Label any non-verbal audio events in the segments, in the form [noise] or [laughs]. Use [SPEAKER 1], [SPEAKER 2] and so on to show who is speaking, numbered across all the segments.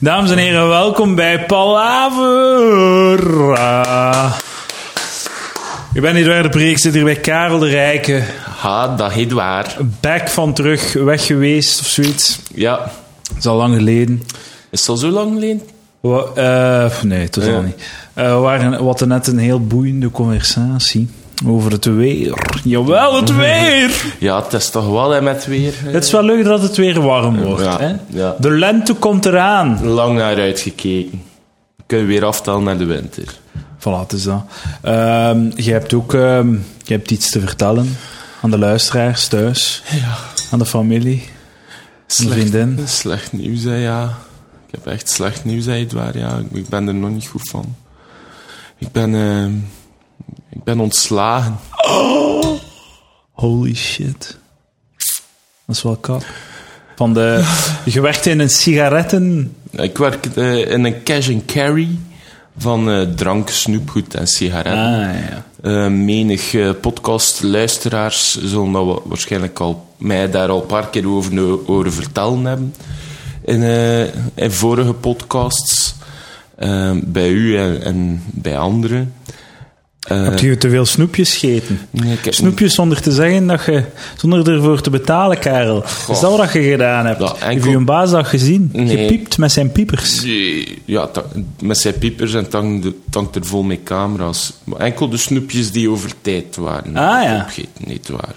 [SPEAKER 1] Dames en heren, welkom bij Palavera. Ik ben Eduard de Preek, ik zit hier bij Karel de Rijke.
[SPEAKER 2] Ha, dag Edouard.
[SPEAKER 1] Back van terug, weg geweest of zoiets.
[SPEAKER 2] Ja,
[SPEAKER 1] Dat is al lang geleden.
[SPEAKER 2] is het al zo lang geleden?
[SPEAKER 1] Wa- eh, nee, dat is
[SPEAKER 2] Ja.
[SPEAKER 1] al niet. Eh, we waren, wat net een heel boeiende conversatie over het weer. Jawel,
[SPEAKER 2] Mhm.
[SPEAKER 1] het
[SPEAKER 2] [laughs]
[SPEAKER 1] weer!
[SPEAKER 2] Ja, het is toch wel hè, met weer. eh,
[SPEAKER 1] Het is wel leuk dat het weer warm wordt.
[SPEAKER 2] Ja,
[SPEAKER 1] Hè?
[SPEAKER 2] ja.
[SPEAKER 1] De lente komt eraan.
[SPEAKER 2] Lang naar uitgekeken. We kunnen weer aftellen naar de winter.
[SPEAKER 1] Voilà, het is dat. Ehm, je hebt ook ehm, je hebt iets te vertellen aan de luisteraars thuis, aan de familie, aan de vriendin.
[SPEAKER 2] slecht nieuws, hè, ja. Ik heb echt slecht nieuws, hè, Edouard. Ja, ik, ik ben er nog niet goed van. Ik ben, eh, ik ben ontslagen.
[SPEAKER 1] Holy shit. Dat is wel kap. Van de... Je werkte in een sigaretten...
[SPEAKER 2] Ik werk eh, in een cash and carry van eh, drank, snoepgoed en sigaretten.
[SPEAKER 1] ja.
[SPEAKER 2] Eh, menig eh, podcastluisteraars zullen dat wa- waarschijnlijk al, mij daar al een paar keer over de oren vertellen hebben. In, eh, in vorige podcasts. eh, bij u en, en bij anderen. Eh,
[SPEAKER 1] Heb je te veel snoepjes gegeten?
[SPEAKER 2] nee, ik heb
[SPEAKER 1] Snoepjes zonder te zeggen dat je... Zonder ervoor te betalen, Karel. Is dat wat je gedaan hebt?
[SPEAKER 2] Ja,
[SPEAKER 1] Heb
[SPEAKER 2] enkel-
[SPEAKER 1] je een baas dat gezien?
[SPEAKER 2] Nee.
[SPEAKER 1] Gepiept met zijn piepers.
[SPEAKER 2] niet- Ja, ta- met zijn piepers en tank, de, tank er vol met camera's. Maar enkel de snoepjes die over tijd waren.
[SPEAKER 1] Ah, ja.
[SPEAKER 2] Opgeten, niet waar.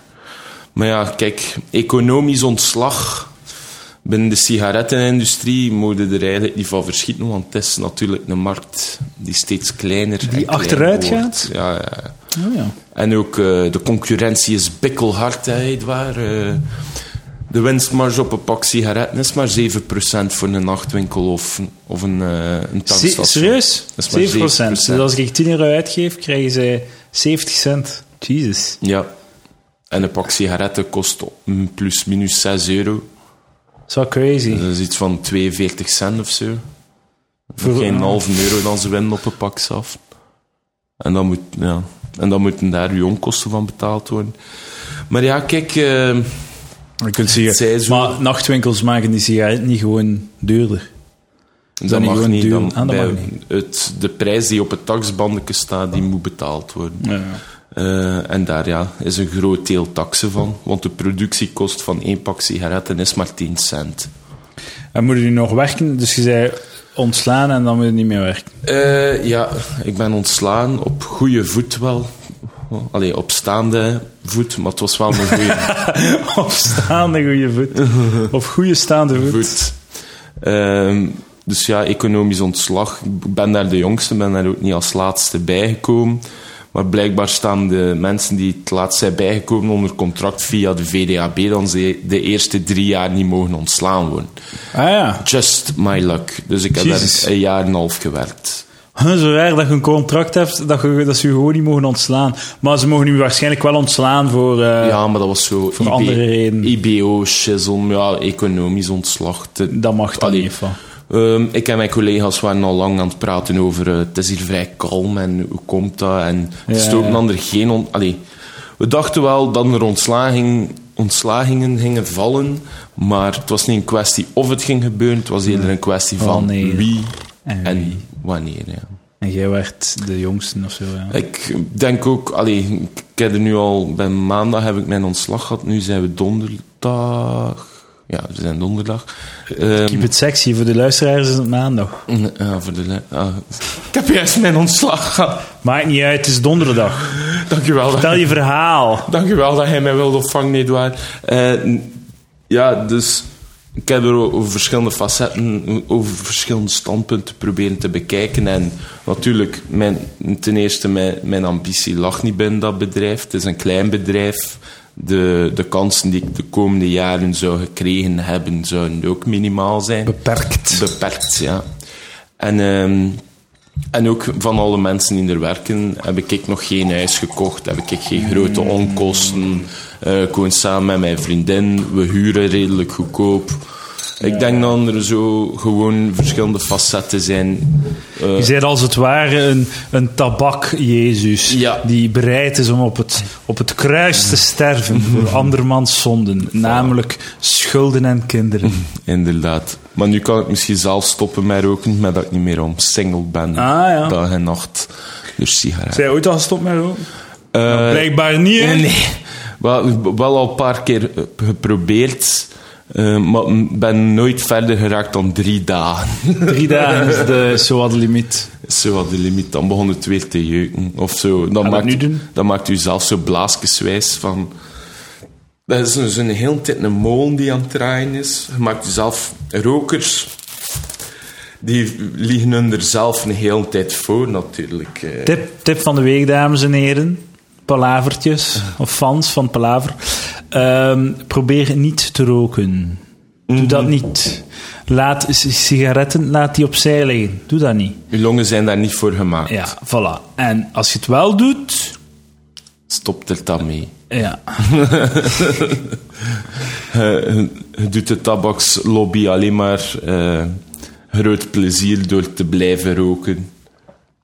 [SPEAKER 2] Maar ja, kijk, economisch ontslag binnen de sigarettenindustrie moet je er eigenlijk niet van verschieten, want het is natuurlijk een markt die steeds kleiner en kleiner
[SPEAKER 1] achteruit
[SPEAKER 2] wordt.
[SPEAKER 1] gaat?
[SPEAKER 2] Ja, ja.
[SPEAKER 1] Oh, ja.
[SPEAKER 2] En ook eh, de concurrentie is bikkelhard, hè, Edouard. Eh, de winstmarge op een pak sigaretten is maar 7% voor een nachtwinkel of, of een, eh een
[SPEAKER 1] Se-
[SPEAKER 2] tankstation.
[SPEAKER 1] serieus?
[SPEAKER 2] Dat is
[SPEAKER 1] 7%.
[SPEAKER 2] maar 7%.
[SPEAKER 1] Dus als ik 10 euro uitgeef, krijgen zij 70 cent. Jesus.
[SPEAKER 2] Ja. En een pak sigaretten kost mm, plus minus 6 euro.
[SPEAKER 1] Dat is wel crazy.
[SPEAKER 2] Dat is iets van 42 cent of zo.
[SPEAKER 1] Voor- Ah.
[SPEAKER 2] Voor geen halve euro dan ze winnen op een pak af. En dan, moet, ja. en dan moeten daar uw onkosten van betaald worden. Maar ja, kijk... eh,
[SPEAKER 1] Je kunt zeggen,
[SPEAKER 2] Zij zo-
[SPEAKER 1] maar nachtwinkels maken die sigaret niet gewoon duurder.
[SPEAKER 2] Dat
[SPEAKER 1] niet
[SPEAKER 2] mag
[SPEAKER 1] gewoon
[SPEAKER 2] niet.
[SPEAKER 1] duwen?
[SPEAKER 2] Dan
[SPEAKER 1] Ah, dat
[SPEAKER 2] bij
[SPEAKER 1] mag niet. Ah.
[SPEAKER 2] Het, de prijs die op het taxbandje staat, die moet betaald worden. Eh, en daar ja, is een groot deel taxen van. Want de productiekost van één pak sigaretten is maar 10 cent.
[SPEAKER 1] En moeten die nog werken? Dus je zei ontslaan en dan moet je niet meer
[SPEAKER 2] [laughs]
[SPEAKER 1] werken.
[SPEAKER 2] Eh, ja, ik ben ontslaan op goede voet wel. Allee, op staande voet, maar het was wel mijn
[SPEAKER 1] [laughs]
[SPEAKER 2] goede
[SPEAKER 1] Of staande goede voet. Of goede staande voet.
[SPEAKER 2] voet. Ehm, dus ja, economisch ontslag. Ik ben daar de jongste, ben daar ook niet als laatste bijgekomen. Maar blijkbaar staan de mensen die het laatst zijn bijgekomen onder contract via de VDAB, dan ze de eerste drie jaar niet mogen ontslaan worden.
[SPEAKER 1] Ah ja.
[SPEAKER 2] Just my luck. Dus ik heb
[SPEAKER 1] Jezus.
[SPEAKER 2] daar een jaar en een half gewerkt.
[SPEAKER 1] Huh, Zo raar dat je een contract hebt dat, je, dat ze je gewoon niet mogen ontslaan. Maar ze mogen je waarschijnlijk wel ontslaan voor... eh,
[SPEAKER 2] ja, maar dat was zo... Voor
[SPEAKER 1] andere redenen.
[SPEAKER 2] IBO, shizzle, ja, economisch ontslag. te-
[SPEAKER 1] Dat mag dan
[SPEAKER 2] Allee.
[SPEAKER 1] niet van.
[SPEAKER 2] Ehm, ik en mijn collega's waren al lang aan het praten over eh, het is hier vrij kalm en hoe komt dat en het is
[SPEAKER 1] Ja,
[SPEAKER 2] toch een
[SPEAKER 1] ja.
[SPEAKER 2] ander geen... On- Allee, we dachten wel dat er ontslaging, ontslagingen gingen vallen, maar het was niet een kwestie of het ging gebeuren, het was eerder een
[SPEAKER 1] Oh,
[SPEAKER 2] kwestie van
[SPEAKER 1] Wanneer.
[SPEAKER 2] wie
[SPEAKER 1] En
[SPEAKER 2] en,
[SPEAKER 1] wie.
[SPEAKER 2] wanneer. Ja.
[SPEAKER 1] En jij werd de jongste of zo, ja.
[SPEAKER 2] Ik denk ook, allee, ik heb er nu al, bij maandag heb ik mijn ontslag gehad, nu zijn we donderdag... Ja, we zijn donderdag. Ehm,
[SPEAKER 1] Keep it sexy, voor de luisteraars is het maandag.
[SPEAKER 2] Ja, voor de le- ah. Ik [laughs] heb juist mijn ontslag gehad.
[SPEAKER 1] Maakt niet uit, het is donderdag.
[SPEAKER 2] Dankjewel.
[SPEAKER 1] Vertel
[SPEAKER 2] Dat,
[SPEAKER 1] je verhaal.
[SPEAKER 2] dankjewel dat hij mij wilde opvangen, Edouard. Eh, n- ja, dus ik heb er o- over verschillende facetten, over verschillende standpunten proberen te bekijken. En natuurlijk, mijn, ten eerste, mijn, mijn ambitie lag niet binnen dat bedrijf. Het is een klein bedrijf. De, de kansen die ik de komende jaren zou gekregen hebben, zouden ook minimaal zijn.
[SPEAKER 1] Beperkt.
[SPEAKER 2] Beperkt, ja. En, ehm, en ook van alle mensen die er werken, heb ik nog geen huis gekocht, heb ik geen grote onkosten. Eh, ik woon samen met mijn vriendin, we huren redelijk goedkoop. Ik denk dat er zo gewoon verschillende facetten zijn. Eh,
[SPEAKER 1] Je bent als het ware een, een tabak-Jezus
[SPEAKER 2] Ja.
[SPEAKER 1] die bereid is om op het, op het kruis te [laughs] sterven voor andermans zonden, namelijk schulden en [laughs] kinderen.
[SPEAKER 2] inderdaad. Maar nu kan ik misschien zelf stoppen met roken, maar dat ik niet meer om single ben.
[SPEAKER 1] Ah, ja.
[SPEAKER 2] Dag en nacht. Dus sigaretten.
[SPEAKER 1] Zij ooit al gestopt met roken?
[SPEAKER 2] Eh,
[SPEAKER 1] Blijkbaar niet, hè?
[SPEAKER 2] Nee, nee. Wel, wel al een paar keer eh, geprobeerd, eh, maar m- ben nooit verder geraakt dan drie dagen. [laughs]
[SPEAKER 1] Drie dagen is [laughs] de, zo wat de limiet.
[SPEAKER 2] zo wat de limiet, dan begon het weer te jeuken of zo. Dan
[SPEAKER 1] dat
[SPEAKER 2] maakt,
[SPEAKER 1] nu doen?
[SPEAKER 2] Dan maakt u zelf zo blaasjeswijs van... Dat is een- zo'n hele tijd een molen die aan het draaien is. Je maakt jezelf rokers. Die liggen hun er zelf een hele tijd voor, natuurlijk. eh.
[SPEAKER 1] Tip, tip van de week, dames en heren. Palavertjes, of fans van Palaver. Ehm, probeer niet te roken. Doe
[SPEAKER 2] Mhm.
[SPEAKER 1] dat niet. Laat s- sigaretten laat die opzij liggen. Doe dat niet.
[SPEAKER 2] Uw longen zijn daar niet voor gemaakt.
[SPEAKER 1] Ja, voilà. En als je het wel doet...
[SPEAKER 2] Stop er dan mee.
[SPEAKER 1] Ja.
[SPEAKER 2] Je Eh, je doet de tabakslobby alleen maar eh, groot plezier door te blijven roken.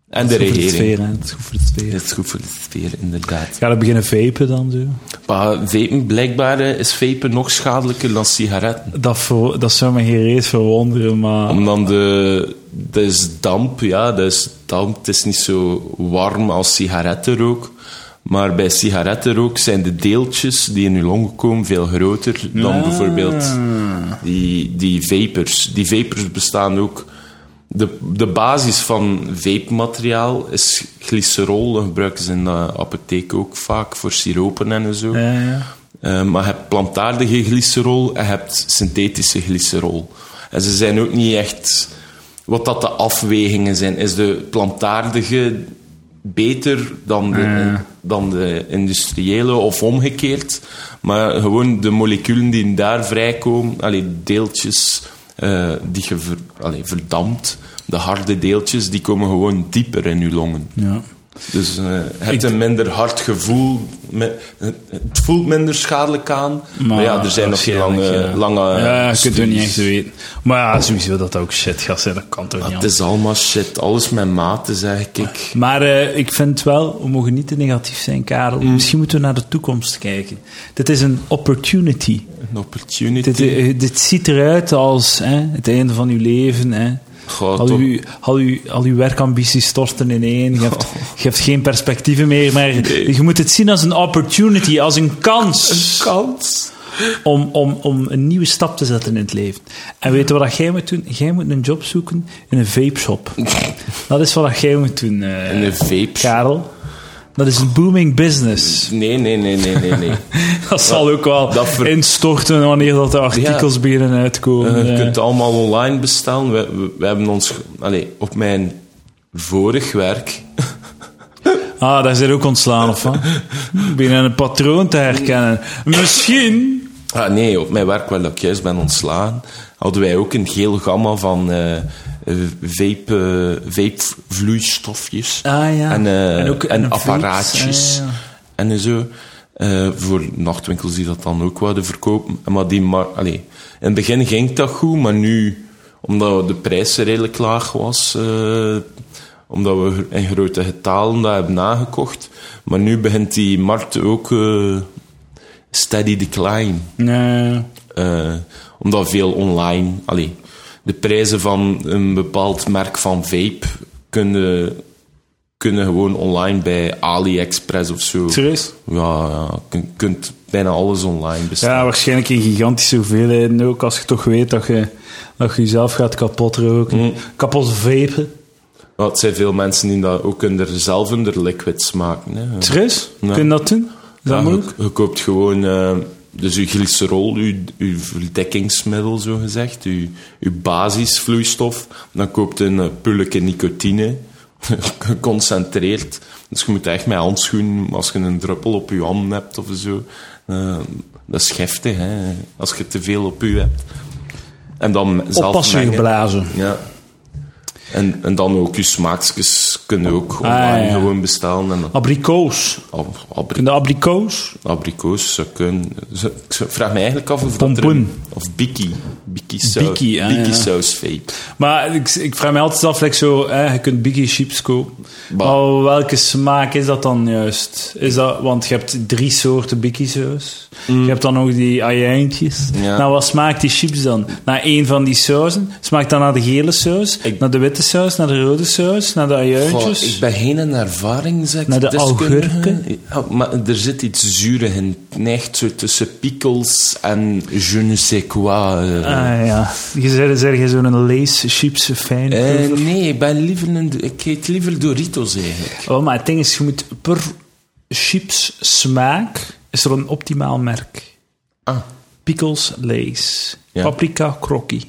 [SPEAKER 2] En de
[SPEAKER 1] Het is goed voor de
[SPEAKER 2] regering.
[SPEAKER 1] sfeer, hè. Het is goed voor de sfeer.
[SPEAKER 2] Het is goed voor de sfeer, inderdaad.
[SPEAKER 1] Ga je beginnen vapen dan, zo?
[SPEAKER 2] Maar vapen, blijkbaar eh, is vapen nog schadelijker dan sigaretten.
[SPEAKER 1] Dat, voor, dat zou me geen reet verwonderen, maar...
[SPEAKER 2] Omdat de... Dat is damp, ja, dat is damp. Het is niet zo warm als sigarettenrook. Maar bij sigarettenrook zijn de deeltjes die in je longen komen veel groter dan
[SPEAKER 1] Ah.
[SPEAKER 2] bijvoorbeeld die, die vapers. Die vapers bestaan ook... De, de basis van vape-materiaal is glycerol. Dat gebruiken ze in de apotheek ook vaak voor siropen en zo.
[SPEAKER 1] Ja, ja.
[SPEAKER 2] Eh, maar je hebt plantaardige glycerol en je hebt synthetische glycerol. En ze zijn ook niet echt... Wat dat de afwegingen zijn. Is de plantaardige beter dan de, dan de industriële of omgekeerd? Maar gewoon de moleculen die daar vrijkomen, allee, deeltjes eh, die je ver, allee, verdampt, de harde deeltjes, die komen gewoon dieper in je longen.
[SPEAKER 1] ja.
[SPEAKER 2] Dus eh, je hebt een minder hard gevoel. me- het voelt minder schadelijk aan. Maar, ja, er zijn nog geen lange...
[SPEAKER 1] waarschijnlijk, ja.
[SPEAKER 2] lange
[SPEAKER 1] Ja, je kunt het niet echt
[SPEAKER 2] studies. Ah,
[SPEAKER 1] weten. Maar ja, sowieso dat dat ook shit gaat zijn, dat kan toch niet
[SPEAKER 2] Het
[SPEAKER 1] anders.
[SPEAKER 2] is allemaal shit. Alles met mate, zeg ik.
[SPEAKER 1] Maar eh, ik vind wel, we mogen niet te negatief zijn, Karel.
[SPEAKER 2] Mm.
[SPEAKER 1] Misschien moeten we naar de toekomst kijken. Dit is een opportunity.
[SPEAKER 2] Een opportunity.
[SPEAKER 1] Dit, eh, dit ziet eruit als hè, het einde van uw leven. Hè.
[SPEAKER 2] Goh,
[SPEAKER 1] Al
[SPEAKER 2] toch.
[SPEAKER 1] uw, al, uw, al uw werkambities storten ineen. Je hebt, je hebt geen perspectieven meer. Maar
[SPEAKER 2] Oh. Nee.
[SPEAKER 1] je moet het zien als een opportunity, als een kans.
[SPEAKER 2] kans.
[SPEAKER 1] om, om, om een nieuwe stap te zetten in het leven. En weet je wat jij moet doen? Jij moet een job zoeken in een vape-shop.
[SPEAKER 2] [laughs]
[SPEAKER 1] Dat is wat jij moet doen, eh,
[SPEAKER 2] En een vape.
[SPEAKER 1] Karel. Dat is een booming business. [laughs]
[SPEAKER 2] Nee, nee, nee, nee, nee. Eh, nee.
[SPEAKER 1] Dat zal ook wel
[SPEAKER 2] dat ver-
[SPEAKER 1] instorten wanneer dat de artikels beginnen uitkomen.
[SPEAKER 2] Eh, je
[SPEAKER 1] eh.
[SPEAKER 2] kunt het allemaal online bestellen. We, we, we hebben ons... ge- Allee, op mijn vorig werk...
[SPEAKER 1] Ah, daar zijn ook ontslaan of
[SPEAKER 2] [laughs]
[SPEAKER 1] van. Binnen een patroon te herkennen. Misschien.
[SPEAKER 2] Ah, nee, op mijn werk waar ik juist ben ontslagen, hadden wij ook een geel gamma van eh, eh, vape, eh, vapevloeistofjes.
[SPEAKER 1] Ah, ja.
[SPEAKER 2] En, eh,
[SPEAKER 1] En ook-
[SPEAKER 2] en
[SPEAKER 1] en vapes,
[SPEAKER 2] apparaatjes.
[SPEAKER 1] ah, ja.
[SPEAKER 2] En zo. eh, voor nachtwinkels die dat dan ook wilden verkopen. Maar die mar allee, in het begin ging dat goed, maar nu, omdat de prijs redelijk laag was, eh, omdat we in grote getalen dat hebben nagekocht. Maar nu begint die markt ook eh, steady decline.
[SPEAKER 1] Nee.
[SPEAKER 2] Eh, omdat veel online... Allee, de prijzen van een bepaald merk van vape kunnen, kunnen gewoon online bij AliExpress of zo.
[SPEAKER 1] Serieus?
[SPEAKER 2] Ja, ja, je kunt bijna alles online bestellen.
[SPEAKER 1] Ja, waarschijnlijk in gigantische hoeveelheden ook. Als je toch weet dat je, dat je jezelf gaat kapot roken.
[SPEAKER 2] Mm.
[SPEAKER 1] Kapot vapen.
[SPEAKER 2] Ja, het zijn veel mensen die dat ook hun er zelf hun liquids maken. Hè.
[SPEAKER 1] Serieus?
[SPEAKER 2] Ja.
[SPEAKER 1] Kun je dat doen? Is dat
[SPEAKER 2] Ja,
[SPEAKER 1] moeilijk?
[SPEAKER 2] Je, je koopt gewoon eh, dus je glycerol, je, je verdekkingsmiddel zo gezegd, je, je basisvloeistof. Dan koopt een eh, pulletje nicotine, [laughs] geconcentreerd. Dus je moet echt met handschoenen, als je een druppel op je hand hebt of zo. eh, dat is heftig, hè, als je te veel op je hebt. En dan zelf
[SPEAKER 1] Oppassen
[SPEAKER 2] mengen.
[SPEAKER 1] geblazen.
[SPEAKER 2] Ja. En, en dan ook je smaakjes kunnen ook
[SPEAKER 1] Ah,
[SPEAKER 2] online
[SPEAKER 1] ja.
[SPEAKER 2] gewoon bestellen. En dan-
[SPEAKER 1] Abrikoos.
[SPEAKER 2] ab- abri-
[SPEAKER 1] De abrikoos.
[SPEAKER 2] abrikoos zou kunnen. Zo- Ik zou- vraag me eigenlijk af of dat er
[SPEAKER 1] Pompoen.
[SPEAKER 2] een- Of biki. Biki saus.
[SPEAKER 1] Biki, ah, ja.
[SPEAKER 2] saus fake.
[SPEAKER 1] Maar ik, ik vraag me altijd af, like zo, hè, je kunt Biggie chips kopen.
[SPEAKER 2] Bah.
[SPEAKER 1] Maar welke smaak is dat dan juist? Is dat, want je hebt drie soorten Biggie saus. Je hebt dan ook die ajuintjes.
[SPEAKER 2] Mm. Ja.
[SPEAKER 1] Nou, wat smaakt die chips dan? Naar één van die sausen? Smaakt dat naar de gele saus?
[SPEAKER 2] Ik-
[SPEAKER 1] Naar de witte saus? Naar de rode saus? Naar de
[SPEAKER 2] Goh,
[SPEAKER 1] ajuintjes?
[SPEAKER 2] ik ben geen ervaring, zeg
[SPEAKER 1] Naar de
[SPEAKER 2] deskundige.
[SPEAKER 1] augurken?
[SPEAKER 2] Ja, maar er zit iets zuurig in. Neigt zo tussen pickles en je ne sais quoi. eh.
[SPEAKER 1] Ah ja, je zei zeg je zo'n lees chips fijn.
[SPEAKER 2] Eh, nee, ik, ben liever een, ik eet liever Doritos eigenlijk.
[SPEAKER 1] Oh, maar het ding is, je moet per chips smaak is er een optimaal merk.
[SPEAKER 2] Ah,
[SPEAKER 1] Pickles, Lay's.
[SPEAKER 2] Ja.
[SPEAKER 1] Paprika, Crocky.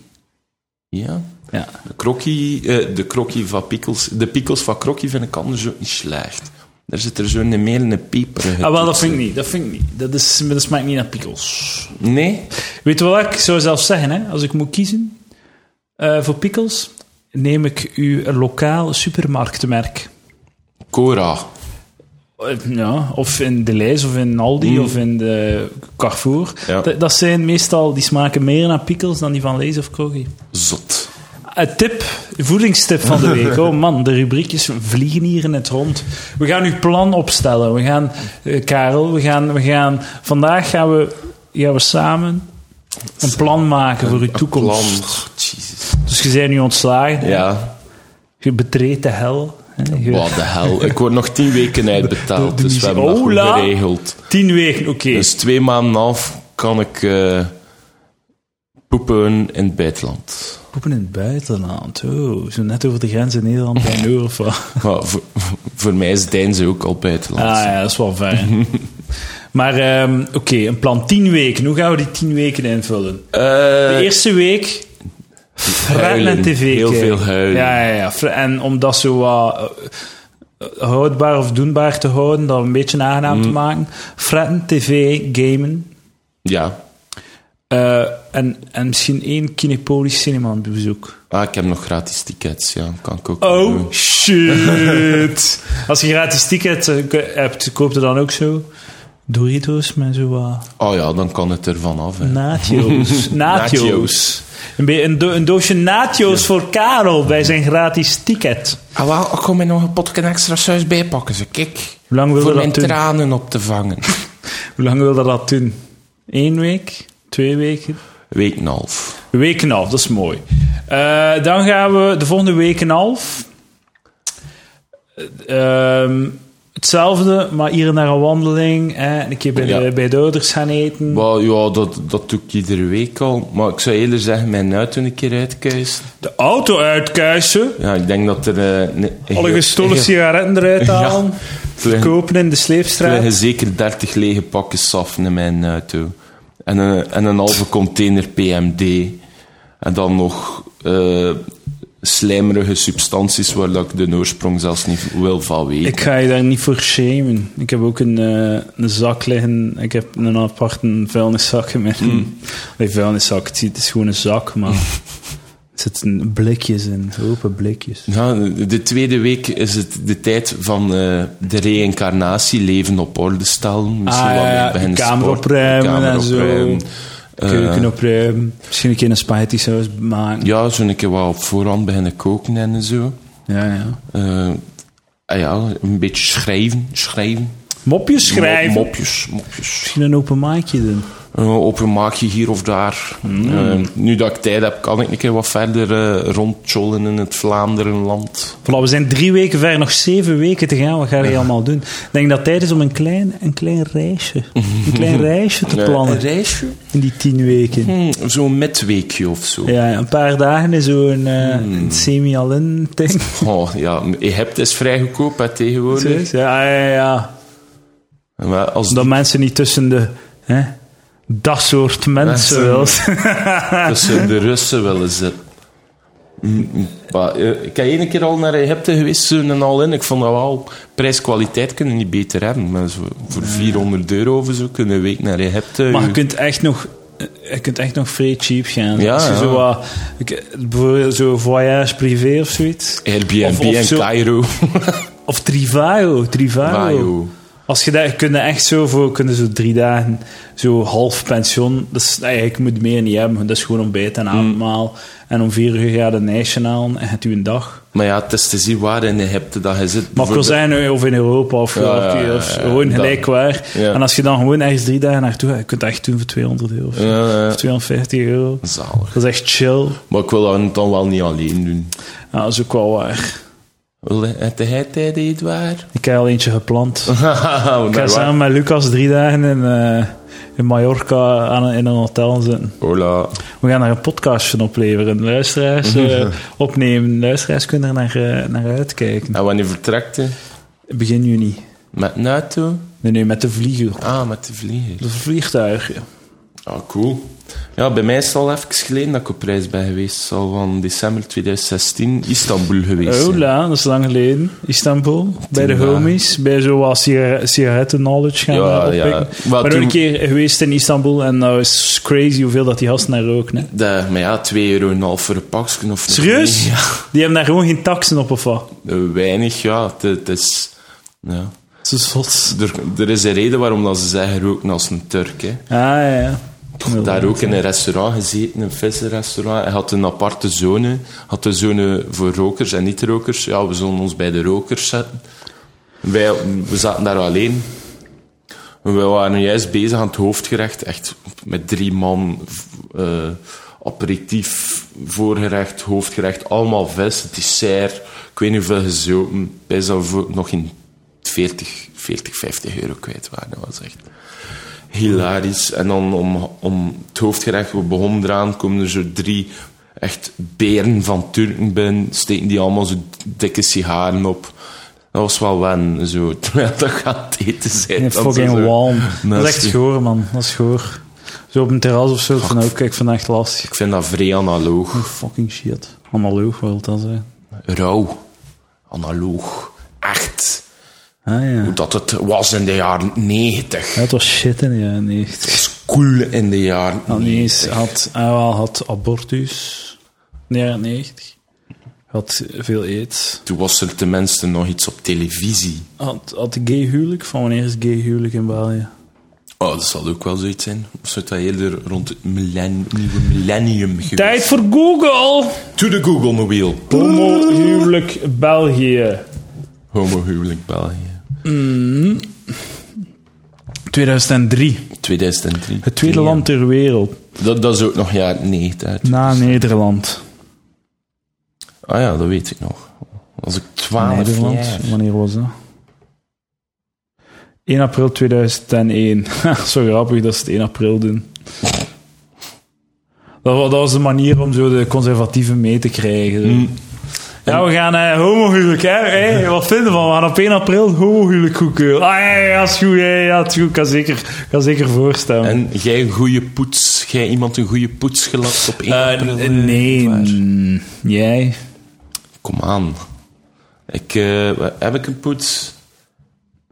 [SPEAKER 2] ja.
[SPEAKER 1] Ja.
[SPEAKER 2] De krokkie, eh, de krokkie van pickles, de pickles van krokkie vind ik anders ook niet slecht. Daar zit er zo'n meel en een peper.
[SPEAKER 1] Ah, wel, dat vind ik niet. Dat vind ik niet. Dat, is, dat smaakt niet naar pickles.
[SPEAKER 2] Nee?
[SPEAKER 1] Weet je wat ik zou zelf zeggen, hè? Als ik moet kiezen eh, voor pickles, neem ik uw lokaal supermarktmerk.
[SPEAKER 2] Cora.
[SPEAKER 1] Eh, Ja, of in de Lees, of in Aldi, of in de Carrefour.
[SPEAKER 2] Mm. Ja.
[SPEAKER 1] Dat, dat zijn meestal, die smaken meer naar pickles dan die van Lees of Crocky.
[SPEAKER 2] Zot.
[SPEAKER 1] Een tip, voedingstip van de week. Oh man, de rubriekjes vliegen hier in het rond. We gaan uw plan opstellen. We gaan, eh, Karel, we gaan, we gaan, vandaag gaan we, gaan we samen een plan maken voor uw toekomst.
[SPEAKER 2] Plan. Oh, Jezus.
[SPEAKER 1] Dus je bent nu ontslagen,
[SPEAKER 2] Ja.
[SPEAKER 1] je betreedt de hel. hè. Je-
[SPEAKER 2] Wat de hel. Ik word nog tien weken uitbetaald,
[SPEAKER 1] De- de
[SPEAKER 2] dus
[SPEAKER 1] miserie.
[SPEAKER 2] we hebben dat goed
[SPEAKER 1] Hola.
[SPEAKER 2] geregeld.
[SPEAKER 1] Tien weken, oké.
[SPEAKER 2] Dus twee maanden af kan ik eh, poepen in het buitenland.
[SPEAKER 1] Poepen in het buitenland, oh, zo net over de grens in Nederland [laughs] bij Europa.
[SPEAKER 2] Maar voor, [laughs] voor mij is Deinze ook al buitenland.
[SPEAKER 1] Ah ja, dat is wel
[SPEAKER 2] [laughs]
[SPEAKER 1] ver. hè. maar ehm, oké, een plan tien weken. Hoe gaan we die tien weken invullen?
[SPEAKER 2] Eh,
[SPEAKER 1] De eerste week. Fret
[SPEAKER 2] huilen.
[SPEAKER 1] en tv
[SPEAKER 2] Heel
[SPEAKER 1] kijken.
[SPEAKER 2] veel huilen.
[SPEAKER 1] Ja, ja, ja. Fre- En om dat zo wat eh, eh, houdbaar of doenbaar te houden, dat een beetje aangenaam
[SPEAKER 2] Mm.
[SPEAKER 1] te maken. Fretten, tv, gamen.
[SPEAKER 2] ja.
[SPEAKER 1] eh, en, en misschien één Kinepolis cinema aan het bezoek.
[SPEAKER 2] Ah, ik heb nog gratis tickets, ja. Kan ik ook
[SPEAKER 1] Oh,
[SPEAKER 2] doen.
[SPEAKER 1] shit.
[SPEAKER 2] [laughs]
[SPEAKER 1] Als je gratis ticket eh, k- hebt, koop er dan ook zo Doritos met zo wat
[SPEAKER 2] Oh ja, dan kan het er vanaf. hè. [laughs]
[SPEAKER 1] Natio's. Natio's.
[SPEAKER 2] Natio's.
[SPEAKER 1] Een, be- een, do- een doosje Natio's voor Karel bij zijn gratis ticket.
[SPEAKER 3] Ah, wel, ik kom er nog een potje extra saus bij pakken, ze kijk.
[SPEAKER 1] Hoe lang wil je
[SPEAKER 3] Voor mijn
[SPEAKER 1] dat doen?
[SPEAKER 3] tranen op te vangen.
[SPEAKER 1] Hoe lang wil je dat doen? Eén week? Twee weken?
[SPEAKER 2] Week en een half.
[SPEAKER 1] Een week en een half, dat is mooi. Eh, dan gaan we de volgende week en een half. Eh, ehm, hetzelfde, maar hier naar een wandeling. Hè, en een keer bij, de,
[SPEAKER 2] Ja.
[SPEAKER 1] bij de ouders gaan eten.
[SPEAKER 2] Wel, ja, dat, dat doe ik iedere week al. Maar ik zou eerder zeggen, mijn auto een keer uitkuisen.
[SPEAKER 1] De auto uitkuisen.
[SPEAKER 2] Ja, ik denk dat er... eh, een- een
[SPEAKER 1] Alle
[SPEAKER 2] heel-
[SPEAKER 1] gestolen
[SPEAKER 2] heel-
[SPEAKER 1] sigaretten eruit halen.
[SPEAKER 2] Het liggen-
[SPEAKER 1] Kopen in de
[SPEAKER 2] er
[SPEAKER 1] sleepstraat.
[SPEAKER 2] liggen zeker 30 lege pakken saf in mijn auto. En een, en een halve container PMD. En dan nog eh, slijmerige substanties waar dat ik de oorsprong zelfs niet wil van weten.
[SPEAKER 1] Ik ga je daar niet voor shamen. Ik heb ook een, eh, een zak liggen. Ik heb een aparte vuilniszak in mijn...
[SPEAKER 2] Hmm.
[SPEAKER 1] [laughs] Nee, vuilniszak. Het is- het is gewoon een zak,
[SPEAKER 2] [laughs]
[SPEAKER 1] maar... Er zitten blikjes in. Open blikjes.
[SPEAKER 2] Ja, de tweede week is het de tijd van eh, de reïncarnatie, leven op orde stellen. Misschien
[SPEAKER 1] Ah,
[SPEAKER 2] wat
[SPEAKER 1] ja,
[SPEAKER 2] meer
[SPEAKER 1] de
[SPEAKER 2] beginnen
[SPEAKER 1] kamer
[SPEAKER 2] sporten,
[SPEAKER 1] opruimen
[SPEAKER 2] kamer
[SPEAKER 1] en zo.
[SPEAKER 2] opruimen.
[SPEAKER 1] Keuken
[SPEAKER 2] Eh,
[SPEAKER 1] opruimen. Misschien een keer een spaghetti saus maken.
[SPEAKER 2] Ja, zo een keer wat op voorhand beginnen koken en zo.
[SPEAKER 1] Ja, ja.
[SPEAKER 2] Eh, ah ja, een beetje schrijven, schrijven.
[SPEAKER 1] Mopjes schrijven.
[SPEAKER 2] Mo- mopjes, mopjes.
[SPEAKER 1] Misschien een open maakje doen.
[SPEAKER 2] Eh, open maakje hier of daar.
[SPEAKER 1] Mm.
[SPEAKER 2] Eh, nu dat ik tijd heb, kan ik een keer wat verder eh, rondchollen in het Vlaanderenland.
[SPEAKER 1] Voilà, we zijn drie weken ver, nog zeven weken te gaan. Wat ga je allemaal doen? Ik denk dat het tijd is om een klein, een klein reisje, een
[SPEAKER 2] [laughs]
[SPEAKER 1] klein reisje te plannen
[SPEAKER 2] reisje?
[SPEAKER 1] in die tien weken.
[SPEAKER 2] Hm, Eh, Zo'n midweekje of zo.
[SPEAKER 1] Ja, een paar dagen in zo'n eh,
[SPEAKER 2] Hmm.
[SPEAKER 1] een semi-allen
[SPEAKER 2] [laughs]
[SPEAKER 1] ding.
[SPEAKER 2] Oh, ja, Egypte is vrij goedkoop hè, tegenwoordig.
[SPEAKER 1] Ja, ja, ja, ja.
[SPEAKER 2] Maar als
[SPEAKER 1] Dat mensen niet tussen de... Hè, dat soort mensen
[SPEAKER 2] Mensen.
[SPEAKER 1] wel.
[SPEAKER 2] [laughs] die tussen de Russen willen zitten. Mm, mm. Maar, eh, ik heb één keer al naar Egypte geweest, zo'n en al in. Ik vond dat wel... Prijs-kwaliteit kunnen niet beter hebben. Maar zo, voor 400 euro of zo kunnen we een week naar Egypte.
[SPEAKER 1] Maar je
[SPEAKER 2] Je-
[SPEAKER 1] kunt echt nog eh, je kunt echt nog vrij cheap gaan.
[SPEAKER 2] Ja,
[SPEAKER 1] Als je
[SPEAKER 2] ja.
[SPEAKER 1] zo wat, ik- bijvoorbeeld zo'n voyage privé of zoiets.
[SPEAKER 2] Airbnb
[SPEAKER 1] Of- of
[SPEAKER 2] en
[SPEAKER 1] zo-
[SPEAKER 2] Cairo.
[SPEAKER 1] Of Trivago,
[SPEAKER 2] [laughs]
[SPEAKER 1] Trivago.
[SPEAKER 2] Cairo.
[SPEAKER 1] Als je daar kunnen echt zo voor kunnen zo drie dagen zo half pension. Dat is eigenlijk moet je meer niet hebben. Dat is gewoon ontbijt
[SPEAKER 2] Mm.
[SPEAKER 1] en avondmaal. En om vier uur ga je een ijsje halen en gaat u een dag.
[SPEAKER 2] Maar ja, het is te zien waar in Egypte dat je zit.
[SPEAKER 1] Maar ik wil
[SPEAKER 2] Bijvoorbeeld-
[SPEAKER 1] zeggen, of in Europa of,
[SPEAKER 2] Ja, ja, ja,
[SPEAKER 1] of
[SPEAKER 2] ja,
[SPEAKER 1] gewoon
[SPEAKER 2] dat-
[SPEAKER 1] gelijk waar.
[SPEAKER 2] Ja.
[SPEAKER 1] En als je dan gewoon ergens drie dagen naartoe gaat, je kunt dat echt doen voor 200 euro of, zo.
[SPEAKER 2] Ja, ja.
[SPEAKER 1] Of 250 euro.
[SPEAKER 2] Zalig.
[SPEAKER 1] Dat is echt chill.
[SPEAKER 2] Maar ik wil dat dan wel niet alleen doen.
[SPEAKER 1] Ja, dat is ook wel waar.
[SPEAKER 2] Wil je- Heb jij tijd, Edouard? [laughs]
[SPEAKER 1] Ik heb al eentje gepland.
[SPEAKER 2] Haha,
[SPEAKER 1] Ik ga
[SPEAKER 2] naar waar?
[SPEAKER 1] samen met Lucas drie dagen in, eh, in Mallorca aan, een- in een hotel zitten.
[SPEAKER 2] Hola.
[SPEAKER 1] We gaan daar een podcast van opleveren. Luisteraars
[SPEAKER 2] Mhm.
[SPEAKER 1] eh, opnemen. Luisteraars kunnen er naar, eh, naar uitkijken.
[SPEAKER 2] En wanneer vertrekt je?
[SPEAKER 1] Begin juni.
[SPEAKER 2] Met NATO?
[SPEAKER 1] Nee, nee, met de vlieger.
[SPEAKER 2] Ah, met de vlieger.
[SPEAKER 1] De vliegtuig.
[SPEAKER 2] Ah, cool. Ja, bij mij is het al even geleden dat ik op reis ben geweest. Het zal van december 2016 Istanbul geweest zijn.
[SPEAKER 1] Ola, dat is lang geleden. Istanbul. Bij de
[SPEAKER 2] eh, dagen.
[SPEAKER 1] homies. Bij zoals sigaretten knowledge gaan
[SPEAKER 2] Ja,
[SPEAKER 1] eh, oppikken.
[SPEAKER 2] ja.
[SPEAKER 1] Ik
[SPEAKER 2] Maar
[SPEAKER 1] ben ook
[SPEAKER 2] toen-
[SPEAKER 1] een keer geweest in Istanbul en nou is crazy hoeveel dat die gasten daar roken. Hè.
[SPEAKER 2] De, maar ja, 2,5 euro voor een pakje of...
[SPEAKER 1] Serieus?
[SPEAKER 2] Ja,
[SPEAKER 1] Die hebben daar gewoon geen taxen op of wat?
[SPEAKER 2] eh, weinig, ja. Het- Het is... Ja.
[SPEAKER 1] Zo zot.
[SPEAKER 2] Er, er is een reden waarom dat ze zeggen roken als een Turk. Hè.
[SPEAKER 1] Ah, ja, ja.
[SPEAKER 2] Daar ook in een restaurant gezeten, een vissenrestaurant. Hij had een aparte zone. Had een zone voor rokers en niet-rokers. Ja, we zullen ons bij de rokers zetten. Wij, we zaten daar alleen. We waren juist bezig aan het hoofdgerecht. Echt met drie man. v- eh, aperitief, voorgerecht, hoofdgerecht. Allemaal vis, dessert. Ik weet niet hoeveel gezopen. Wij zouden voor- nog in 40, 40, 50 euro kwijt waren. Dat was echt hilarisch. En dan om, om het hoofdgerecht, we begonnen eraan, komen er zo drie echt beren van Turken binnen, steken die allemaal zo dikke sigaren op. Dat was wel wen, zo. [laughs] Terwijl dat gaat eten zijn.
[SPEAKER 1] Een
[SPEAKER 2] Eh, Dat is
[SPEAKER 1] fucking
[SPEAKER 2] zo- [laughs]
[SPEAKER 1] walm. Dat is echt
[SPEAKER 2] Nasty.
[SPEAKER 1] goor, man. Dat is goor. Zo op een terras of zo, van ook, kijk, van echt lastig.
[SPEAKER 2] Ik vind dat vrij analoog.
[SPEAKER 1] Fucking shit. Analoog wil dat zijn.
[SPEAKER 2] Rauw. Analoog. Echt.
[SPEAKER 1] Ah ja.
[SPEAKER 2] Hoe dat het was in de jaren negentig.
[SPEAKER 1] Ja, het was shit in de jaren 90.
[SPEAKER 2] School in de jaren
[SPEAKER 1] Had niet eens,
[SPEAKER 2] 90.
[SPEAKER 1] had, hij wel had abortus in de jaren 90. Had veel aids.
[SPEAKER 2] Toen was er tenminste nog iets op televisie.
[SPEAKER 1] Had, had gay huwelijk? Van wanneer is gay huwelijk in België?
[SPEAKER 2] Oh, dat zal ook wel zoiets zijn. Of zou dat eerder rond het millen- nieuwe millennium geweest?
[SPEAKER 1] Tijd voor Google!
[SPEAKER 2] To the Google Mobile.
[SPEAKER 1] Homo huwelijk België.
[SPEAKER 2] Homohuwelijk België.
[SPEAKER 1] 2003.
[SPEAKER 2] 2003.
[SPEAKER 1] Het tweede land ter wereld.
[SPEAKER 2] Dat, dat is ook nog jaar 90 uit.
[SPEAKER 1] Na Nederland.
[SPEAKER 2] Ah ja, dat weet ik nog. Als ik
[SPEAKER 1] Ah,
[SPEAKER 2] 12
[SPEAKER 1] Nederland,
[SPEAKER 2] jaar...
[SPEAKER 1] wanneer was dat? 1 april 2001. [laughs] zo grappig dat ze het 1 april doen. Dat, wa- dat was de manier om zo de conservatieven mee te krijgen. zo.
[SPEAKER 2] Mm.
[SPEAKER 1] Ja, we gaan eh homohuwelijk, hè? Hey, wat vinden we van? We gaan op 1 april homohuwelijk goedkeuren. Ah, ja, ja, is goed, ja, ja, is goed. Ik kan zeker, kan zeker voorstellen.
[SPEAKER 2] En jij een goede poets... Jij iemand een goede poets gelapt op 1
[SPEAKER 1] Eh,
[SPEAKER 2] april?
[SPEAKER 1] n- nee, mm, jij?
[SPEAKER 2] Kom aan. Ik, eh, wa- heb ik een poets?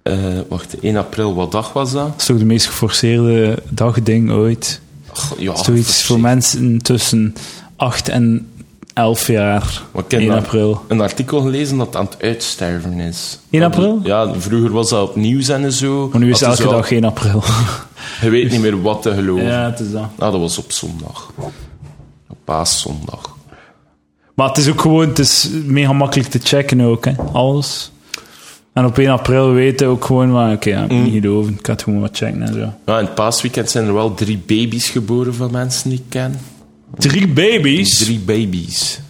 [SPEAKER 2] Eh, wacht, 1 april, wat dag was dat?
[SPEAKER 1] Dat is toch de meest geforceerde dagding ooit?
[SPEAKER 2] Ach, ja,
[SPEAKER 1] Zoiets voor
[SPEAKER 2] mij.
[SPEAKER 1] mensen tussen 8 en 11 jaar.
[SPEAKER 2] Maar ik ken
[SPEAKER 1] 1
[SPEAKER 2] dat.
[SPEAKER 1] april.
[SPEAKER 2] een artikel gelezen dat het aan het uitsterven is.
[SPEAKER 1] 1
[SPEAKER 2] Dat-
[SPEAKER 1] april?
[SPEAKER 2] Ja, vroeger was dat op nieuws en zo.
[SPEAKER 1] Maar nu is
[SPEAKER 2] Dat
[SPEAKER 1] elke
[SPEAKER 2] zo-
[SPEAKER 1] dag 1
[SPEAKER 2] [laughs]
[SPEAKER 1] april.
[SPEAKER 2] Je weet niet meer wat te geloven.
[SPEAKER 1] het is dat.
[SPEAKER 2] Ah, dat was op zondag. Op paaszondag.
[SPEAKER 1] Maar het is ook gewoon, het is mega makkelijk te checken ook, hè. Alles. En op 1 april weten we ook gewoon van, oké, ja, ik ben
[SPEAKER 2] Mm.
[SPEAKER 1] niet geloven. Ik ga het gewoon wat checken en zo.
[SPEAKER 2] Ja, in het paasweekend zijn er wel drie baby's geboren van mensen die ik ken.
[SPEAKER 1] Drie baby's?
[SPEAKER 2] Drie baby's.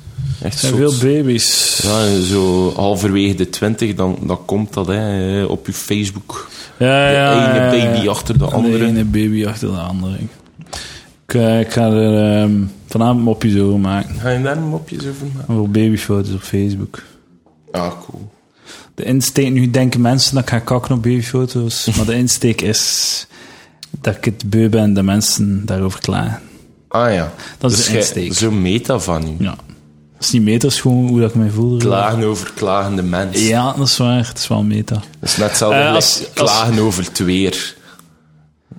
[SPEAKER 2] Echt
[SPEAKER 1] Er
[SPEAKER 2] zo.
[SPEAKER 1] zijn veel baby's.
[SPEAKER 2] ja, zo halverwege de twintig, dan, dan komt dat hè, eh, op je Facebook.
[SPEAKER 1] Ja,
[SPEAKER 2] De
[SPEAKER 1] ja,
[SPEAKER 2] ene
[SPEAKER 1] ja, ja.
[SPEAKER 2] baby achter de
[SPEAKER 1] De
[SPEAKER 2] andere.
[SPEAKER 1] ene baby achter de andere. Ik, eh, ik ga er ehm, vanavond mopjes over maken.
[SPEAKER 2] Ga je daar een mopje zo van maken?
[SPEAKER 1] Over babyfoto's op Facebook.
[SPEAKER 2] Ah, cool.
[SPEAKER 1] De insteek, nu denken mensen dat ik ga kakken op babyfoto's, maar de insteek is dat ik het beu ben dat mensen daarover klagen.
[SPEAKER 2] Ah ja.
[SPEAKER 1] Dat is
[SPEAKER 2] Dus
[SPEAKER 1] de
[SPEAKER 2] jij-
[SPEAKER 1] insteek.
[SPEAKER 2] Zo meta van u.
[SPEAKER 1] Ja. Dat is niet meta, is gewoon hoe dat ik mij voel.
[SPEAKER 2] Klagen over klagende mensen.
[SPEAKER 1] Ja, dat is waar. Het is wel meta.
[SPEAKER 2] Dat is net hetzelfde
[SPEAKER 1] Eh,
[SPEAKER 2] gelijk
[SPEAKER 1] als- als-
[SPEAKER 2] klagen over het weer.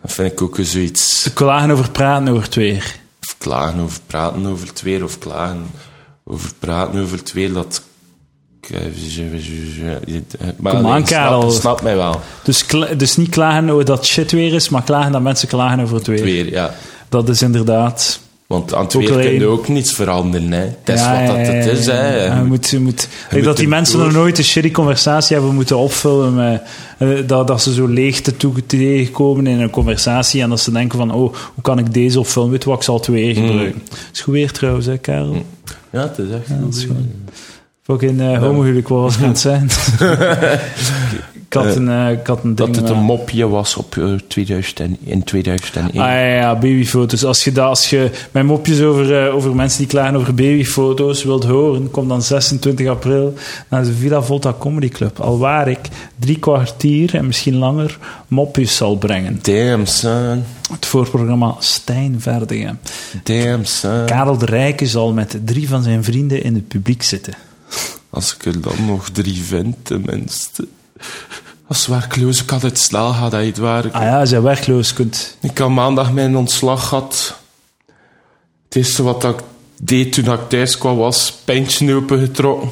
[SPEAKER 2] Dat vind ik ook weer zoiets.
[SPEAKER 1] Klagen over praten over het weer.
[SPEAKER 2] Of klagen over praten over het weer, of klagen over praten over het weer, dat... eh, Maar
[SPEAKER 1] Kom aan,
[SPEAKER 2] nee, snap-
[SPEAKER 1] Karel.
[SPEAKER 2] Snap mij wel.
[SPEAKER 1] Dus, kla- dus niet klagen over dat shit weer is, maar klagen dat mensen klagen over het weer.
[SPEAKER 2] Het weer, ja.
[SPEAKER 1] Dat is inderdaad...
[SPEAKER 2] Want aan het
[SPEAKER 1] Ook
[SPEAKER 2] weer kun je
[SPEAKER 1] alleen-
[SPEAKER 2] ook niets veranderen, hè. Het is
[SPEAKER 1] Ja,
[SPEAKER 2] wat dat
[SPEAKER 1] ja,
[SPEAKER 2] het
[SPEAKER 1] ja,
[SPEAKER 2] is,
[SPEAKER 1] ja, ja.
[SPEAKER 2] hè. Je
[SPEAKER 1] Je
[SPEAKER 2] moet-
[SPEAKER 1] moet, je moet, Kijk, dat
[SPEAKER 2] moet
[SPEAKER 1] die
[SPEAKER 2] hem
[SPEAKER 1] mensen
[SPEAKER 2] door.
[SPEAKER 1] nog nooit een shitty conversatie hebben moeten opvullen met, eh, dat, dat ze zo leegte toe- tegenkomen in een conversatie en dat ze denken van, oh, hoe kan ik deze opvullen? Weet je wat, ik zal het weer
[SPEAKER 2] Mm.
[SPEAKER 1] gebruiken. is goed weer trouwens, hè, Karel?
[SPEAKER 2] Ja, het is echt...
[SPEAKER 1] Dat is gewoon... Fucking eh homohuwelijk was het
[SPEAKER 2] [laughs]
[SPEAKER 1] zijn. ik, had een, eh, ik had een ding...
[SPEAKER 2] dat het
[SPEAKER 1] met-
[SPEAKER 2] een mopje was op, eh, 2000 in 2001.
[SPEAKER 1] Ah ja, ja, babyfoto's. Als je, dat, als je mijn mopjes over, eh, over mensen die klagen over babyfoto's wilt horen, kom dan 26 april naar de Villa Volta Comedy Club. Al waar ik drie kwartier en misschien langer mopjes zal brengen.
[SPEAKER 2] Damn, son.
[SPEAKER 1] Het voorprogramma Stijn Verdingen.
[SPEAKER 2] Damn, son.
[SPEAKER 1] Karel de Rijke zal met drie van zijn vrienden in het publiek zitten.
[SPEAKER 2] Als ik er dan nog drie vind, tenminste. Als werkloos, ik had het snel gehad, dat het waar.
[SPEAKER 1] Ah ja, als je werkloos kunt.
[SPEAKER 2] Ik had maandag mijn ontslag gehad. Het eerste wat ik deed toen ik thuis kwam, was pintje opengetrokken.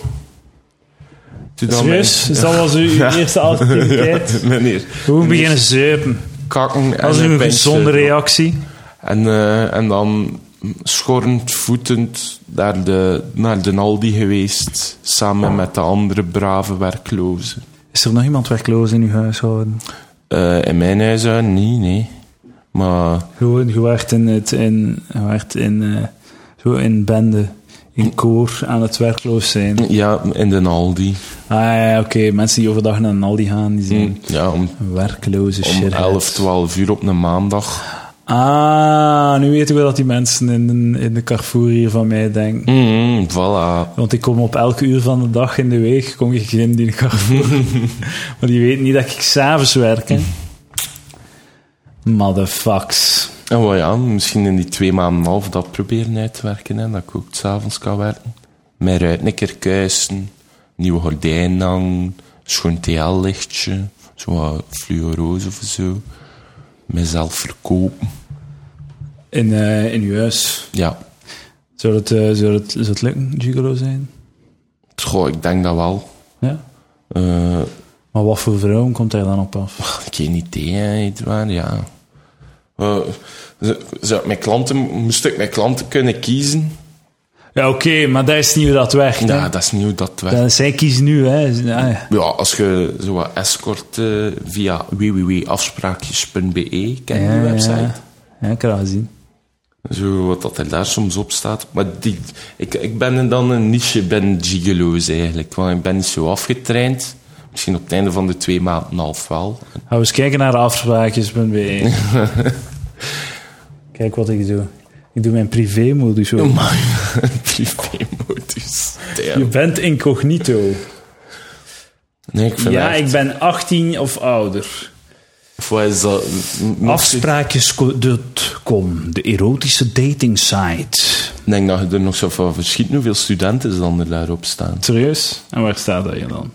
[SPEAKER 2] Toen dan mijn-
[SPEAKER 1] Serieus? Is dat [laughs] was uw uw eerste [laughs] activiteit?
[SPEAKER 2] [laughs] Meneer,
[SPEAKER 1] Hoe beginnen zuipen?
[SPEAKER 2] kakken en
[SPEAKER 1] Dat is
[SPEAKER 2] een
[SPEAKER 1] een
[SPEAKER 2] pintje
[SPEAKER 1] gezonde
[SPEAKER 2] drinken.
[SPEAKER 1] reactie.
[SPEAKER 2] En, eh, en dan schorrend, voetend naar de, naar de Aldi geweest. Samen met de andere brave werklozen.
[SPEAKER 1] Is er nog iemand werkloos in uw huishouden?
[SPEAKER 2] Eh, in mijn huis, eh, nee, nee. Maar
[SPEAKER 1] Gewoon, je werd in, het, in, je werd in, eh, zo in bende, in koor aan het werkloos zijn. Ah
[SPEAKER 2] ja, in de Aldi. Hm,
[SPEAKER 1] ja, oké, mensen die overdag naar een Aldi gaan, die zijn
[SPEAKER 2] Ja, om,
[SPEAKER 1] werkloze
[SPEAKER 2] om
[SPEAKER 1] Hm. shit.
[SPEAKER 2] 11, 12 uur op een maandag.
[SPEAKER 1] Ah, nu weten we dat die mensen in de, in de Carrefour hier van mij denken.
[SPEAKER 2] Mm, voilà.
[SPEAKER 1] Want ik kom op elke uur van de dag in de week, kom ik in die
[SPEAKER 2] [laughs]
[SPEAKER 1] Carrefour. maar die weten niet dat ik s'avonds werk, hè. Motherfucks.
[SPEAKER 2] En wel ja, misschien in die twee maanden en een half dat proberen uit te werken. Hè, dat ik ook s'avonds kan werken. Mijn ruit een keer kuisen. Nieuwe gordijnen hangen. Schoon TL-lichtje. Zo wat fluoroze of zo. Mezelf verkopen.
[SPEAKER 1] In, eh, in uw huis.
[SPEAKER 2] Ja.
[SPEAKER 1] Zou dat, eh, zou dat, zou dat lukken, gigolo zijn?
[SPEAKER 2] Goh, ik denk dat wel.
[SPEAKER 1] Ja.
[SPEAKER 2] Eh,
[SPEAKER 1] Maar wat voor vrouwen komt hij dan op af?
[SPEAKER 2] Geen idee, hè, Edouard, ja. Eh, zou- zou ik mijn klanten, moest ik mijn klanten kunnen kiezen?
[SPEAKER 1] Ja, oké, maar dat is niet hoe dat werkt.
[SPEAKER 2] Ja,
[SPEAKER 1] hè.
[SPEAKER 2] dat is niet hoe dat werkt.
[SPEAKER 1] Dat is, hij kiest nu, hè. ah, Ja, ja.
[SPEAKER 2] Ja, als je zo wat escort eh, via www.afspraakjes.be, ken je
[SPEAKER 1] Ja,
[SPEAKER 2] die website?
[SPEAKER 1] Ja, ja ik kan dat zien.
[SPEAKER 2] Zo wat dat er daar soms op staat. Maar die, ik, ik ben dan een niche, ik ben gigolo's eigenlijk. Want ik ben niet zo afgetraind. Misschien op het einde van de twee maanden en een half wel. [laughs]
[SPEAKER 1] Gaan we eens kijken naar afspraakjes.be. [laughs] Kijk wat ik doe. Ik doe mijn privémodus ook.
[SPEAKER 2] Maar privémodus.
[SPEAKER 1] Je
[SPEAKER 2] Damn.
[SPEAKER 1] bent incognito.
[SPEAKER 2] Nee, ik vind
[SPEAKER 1] Ja,
[SPEAKER 2] echt-
[SPEAKER 1] ik ben 18 of ouder.
[SPEAKER 2] Of wat is dat? M-
[SPEAKER 1] Afspraakjes.com, de erotische dating site.
[SPEAKER 2] Ik denk dat je er nog zo van verschiet hoeveel studenten dan er daarop staan.
[SPEAKER 1] Serieus? En waar staat dat je dan?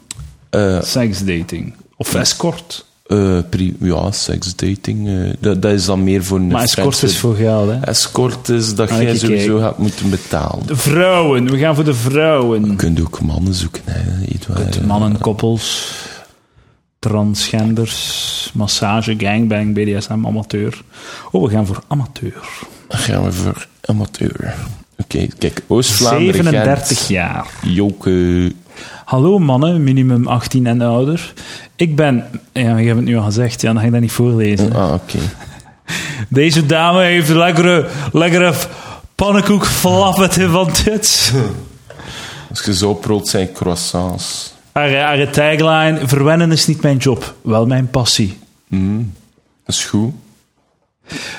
[SPEAKER 2] Eh,
[SPEAKER 1] Seksdating. Of escort.
[SPEAKER 2] eh, pri- ja, seksdating. eh, dat, dat is dan meer voor een
[SPEAKER 1] Maar escort
[SPEAKER 2] friends-
[SPEAKER 1] is voor geld, hè?
[SPEAKER 2] Escort is dat
[SPEAKER 1] Ah,
[SPEAKER 2] jij
[SPEAKER 1] ik
[SPEAKER 2] sowieso
[SPEAKER 1] kijk.
[SPEAKER 2] gaat moeten betalen.
[SPEAKER 1] De vrouwen, we gaan voor de
[SPEAKER 2] Je
[SPEAKER 1] vrouwen.
[SPEAKER 2] kunt ook mannen zoeken, hè, Edouard.
[SPEAKER 1] De mannenkoppels, transgenders, massage, gangbang, BDSM, amateur. Oh, we gaan voor amateur.
[SPEAKER 2] Dan gaan we voor amateur. Oké, kijk, Oost-Vlaanderen,
[SPEAKER 1] 37
[SPEAKER 2] Gent,
[SPEAKER 1] jaar.
[SPEAKER 2] Joke.
[SPEAKER 1] Hallo mannen, minimum 18 en ouder. Ik ben... Ja, je hebt het nu al gezegd, ja, dan ga ik dat niet voorlezen.
[SPEAKER 2] Ah, oké.
[SPEAKER 1] Deze dame heeft lekkere, lekkere pannenkoekflappen van dit.
[SPEAKER 2] Als je zo proot zijn croissants.
[SPEAKER 1] Haar, haar tagline, verwennen is niet mijn job, wel mijn passie.
[SPEAKER 2] Dat is goed.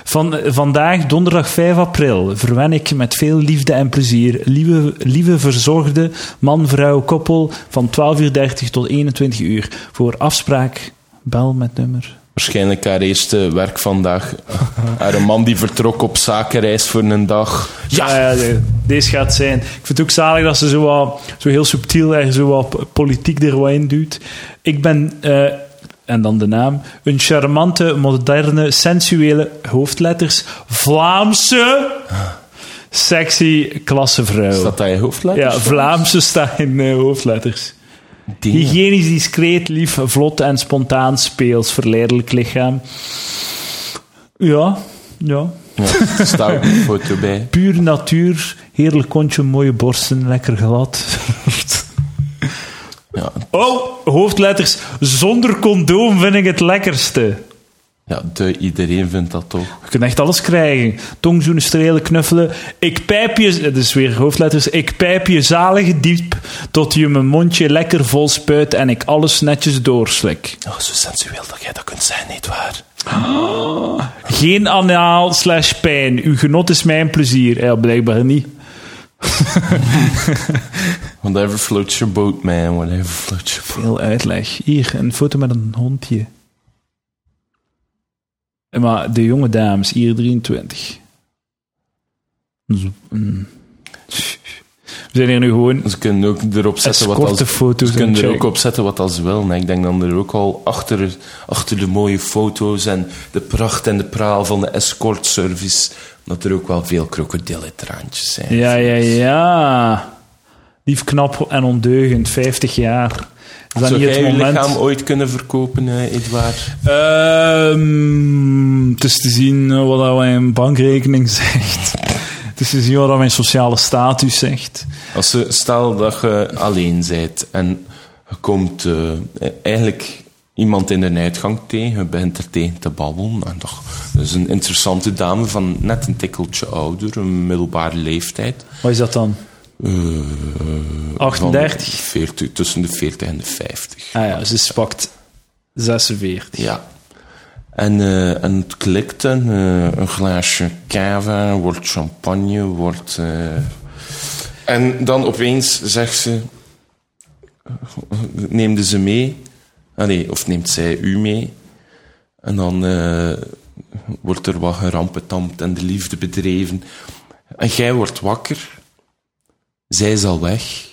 [SPEAKER 1] Van, eh, vandaag, donderdag 5 april, verwen ik met veel liefde en plezier lieve, lieve verzorgde man-vrouw koppel van 12.30 tot 21 uur. Voor afspraak, bel met nummer.
[SPEAKER 2] Waarschijnlijk haar eerste werk vandaag. haar een man die vertrok op zakenreis voor een dag. Ja,
[SPEAKER 1] Ah, ja, de- deze gaat zijn. Ik vind het ook zalig dat ze zo, wat, zo heel subtiel er zo wat politiek er wat in duwt. Ik ben eh, en dan de naam, een charmante, moderne, sensuele, hoofdletters, Vlaamse, sexy klassevrouw.
[SPEAKER 2] Staat dat je hoofdletters?
[SPEAKER 1] Ja, Vlaamse staat in eh, hoofdletters.
[SPEAKER 2] Dingen.
[SPEAKER 1] Hygiënisch, discreet, lief, vlot en spontaan, speels, verleidelijk lichaam. Ja, ja.
[SPEAKER 2] Ja, er staat ook een foto bij.
[SPEAKER 1] Puur natuur, heerlijk kontje, mooie borsten, lekker glad. [laughs]
[SPEAKER 2] Ja,
[SPEAKER 1] Oh, hoofdletters. Zonder condoom vind ik het lekkerste.
[SPEAKER 2] ja de, iedereen vindt dat toch.
[SPEAKER 1] Je kunt echt alles krijgen. Tongzoenen, strelen, knuffelen. Ik pijp je... Het is weer hoofdletters. Ik pijp je zalig diep tot je mijn mondje lekker vol spuit en ik alles netjes doorslik.
[SPEAKER 2] Oh, zo sensueel dat jij dat kunt zijn, nietwaar?
[SPEAKER 1] Geen anaal slash pijn. Uw genot is mijn plezier. Ja, blijkbaar niet.
[SPEAKER 2] Whatever floats your boat, man. Whatever floats your boat.
[SPEAKER 1] Veel uitleg. Hier, een foto met een hondje. Eh, Maar de jonge dames, hier 23. Zo, mm. We zijn hier nu gewoon
[SPEAKER 2] Ze kunnen ook erop zetten wat als...
[SPEAKER 1] escorte foto's
[SPEAKER 2] Ze
[SPEAKER 1] aan het
[SPEAKER 2] kunnen er ook
[SPEAKER 1] checken.
[SPEAKER 2] op zetten wat als wel. Ik denk dan er ook al achter, achter de mooie foto's en de pracht en de praal van de escort service, dat er ook wel veel krokodillentraantjes zijn.
[SPEAKER 1] Ja, ja, ja. Lief, knap en ondeugend, 50 jaar. Is dat
[SPEAKER 2] Zou
[SPEAKER 1] niet
[SPEAKER 2] jij
[SPEAKER 1] het
[SPEAKER 2] je
[SPEAKER 1] moment?
[SPEAKER 2] lichaam ooit kunnen verkopen, eh, Edouard?
[SPEAKER 1] Ehm, het is te zien eh, wat dat mijn bankrekening [laughs] zegt. Het is te zien wat dat mijn sociale status zegt.
[SPEAKER 2] Als ze, stel dat je alleen bent en je komt eh, eigenlijk iemand in de uitgang tegen, je begint er tegen te babbelen. En dat, dat is een interessante dame van net een tikkeltje ouder, een middelbare leeftijd.
[SPEAKER 1] Wat is dat dan?
[SPEAKER 2] Eh, van
[SPEAKER 1] 38?
[SPEAKER 2] 40, tussen de 40 en de 50.
[SPEAKER 1] Ah ja, ze pakt 46.
[SPEAKER 2] Ja. En, eh, en het klikt en eh, een glaasje cava, wordt champagne, wordt... eh, En dan opeens zegt ze... eh, Neemde ze mee. Ah, nee, of neemt zij u mee. En dan eh, wordt er wat gerampetampt en de liefde bedreven. En jij wordt wakker. Zij is al weg.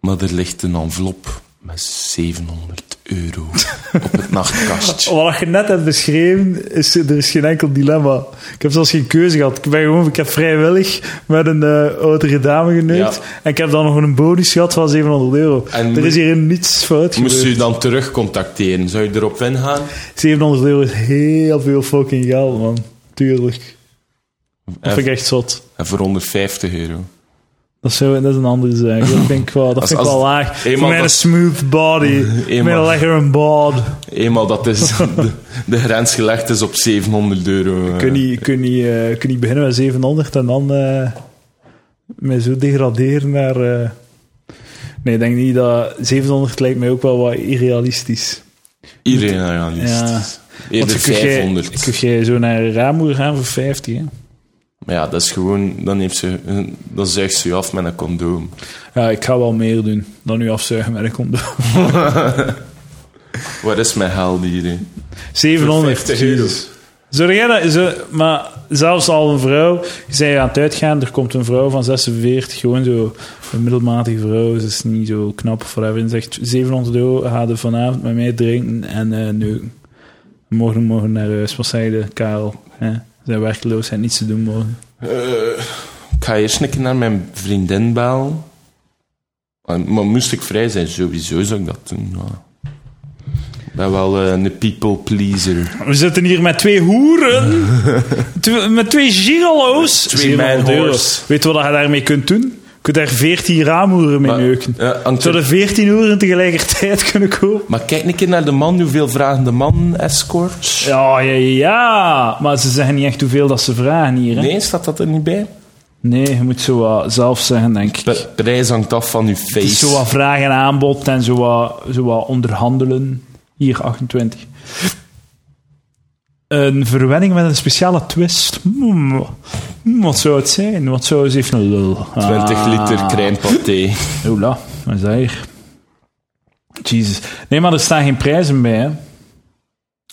[SPEAKER 2] Maar er ligt een envelop met 700 euro op het nachtkastje.
[SPEAKER 1] Wat je net hebt beschreven, is er is geen enkel dilemma. Ik heb zelfs geen keuze gehad. Ik, ben gewoon, ik heb vrijwillig met een eh, oudere dame geneukt.
[SPEAKER 2] Ja.
[SPEAKER 1] En ik heb dan nog een bonus gehad van 700 euro.
[SPEAKER 2] En
[SPEAKER 1] er
[SPEAKER 2] moest-
[SPEAKER 1] is hier niets fout
[SPEAKER 2] Moest u
[SPEAKER 1] gebeurd.
[SPEAKER 2] dan terug contacteren? Zou je erop ingaan?
[SPEAKER 1] 700 euro is heel veel fucking geld, man. Tuurlijk. Dat vind ik
[SPEAKER 2] En,
[SPEAKER 1] echt zot.
[SPEAKER 2] en voor 150 euro.
[SPEAKER 1] Dat is, zo, dat is een andere zaak. Dat vind ik wel, dat
[SPEAKER 2] Als-
[SPEAKER 1] vind ik
[SPEAKER 2] als-
[SPEAKER 1] wel laag.
[SPEAKER 2] eenmaal
[SPEAKER 1] Voor mij een
[SPEAKER 2] dat-
[SPEAKER 1] smooth
[SPEAKER 2] [laughs]
[SPEAKER 1] body. Voor mij een
[SPEAKER 2] Eenmaal-
[SPEAKER 1] lekker een bod.
[SPEAKER 2] Eenmaal dat [laughs] is, de, de grens gelegd is op 700 euro. eh,
[SPEAKER 1] kun je, kun je, eh, kun je beginnen met 700 en dan eh mij zo degraderen naar... eh, Nee, ik denk niet dat... 700 lijkt mij ook wel wat irrealistisch.
[SPEAKER 2] Iedereen realistisch.
[SPEAKER 1] Want
[SPEAKER 2] Eerder
[SPEAKER 1] kun jij,
[SPEAKER 2] 500.
[SPEAKER 1] kun jij zo naar een raammoer gaan voor 50, hè?
[SPEAKER 2] Maar ja, dat is gewoon... Dan, heeft ze, eh, dan zuigt ze je af met een condoom.
[SPEAKER 1] Ja, ik ga wel meer doen dan nu afzuigen met een condoom.
[SPEAKER 2] Waar is mijn geld hier? hè?
[SPEAKER 1] 700. Jezus. Zou jij dat, zou- maar zelfs al een vrouw, je zei aan het uitgaan, er komt een vrouw van 46, gewoon zo een middelmatige vrouw, ze is niet zo knap of whatever, en zegt 700 euro, ga er vanavond met mij drinken en eh neuken. Morgen morgen naar huis, wat zei de Karel? Hè? Zijn werkloos en niets te doen morgen.
[SPEAKER 2] Eh, ik ga eerst een keer naar mijn vriendin bellen. Eh, Maar moest ik vrij zijn, sowieso zou ik dat doen. ja. Ik ben wel eh, een people pleaser.
[SPEAKER 1] We zitten hier met twee
[SPEAKER 2] [laughs]
[SPEAKER 1] hoeren, Tw- met twee gigolo's.
[SPEAKER 2] Twee
[SPEAKER 1] 700 euro.
[SPEAKER 2] manhoors.
[SPEAKER 1] Weet je wat je daarmee kunt doen? Je kunt daar 14 raamhoeren mee
[SPEAKER 2] Maar,
[SPEAKER 1] neuken.
[SPEAKER 2] eh, hangt er-
[SPEAKER 1] Zouden 14 uren tegelijkertijd [laughs] kunnen kopen?
[SPEAKER 2] maar kijk een keer naar de man, hoeveel vragen de man escorts?
[SPEAKER 1] Ja, ja, ja. Maar ze zeggen niet echt hoeveel dat ze vragen hier. Hè?
[SPEAKER 2] Nee, staat dat er niet bij?
[SPEAKER 1] Nee, je moet zo wat zelf zeggen, denk ik.
[SPEAKER 2] De prijs hangt af van uw face.
[SPEAKER 1] Het is zo wat vraag en aanbod en zo wat, zo wat onderhandelen. Hier, 28. Een verwenning met een speciale twist. Hmm. Hmm, wat zou het zijn? Wat zou eens even een lul?
[SPEAKER 2] 20 liter
[SPEAKER 1] Ah.
[SPEAKER 2] crème pâté.
[SPEAKER 1] Oula, wat is dat hier? Jezus. Nee, maar er staan geen prijzen bij, hè.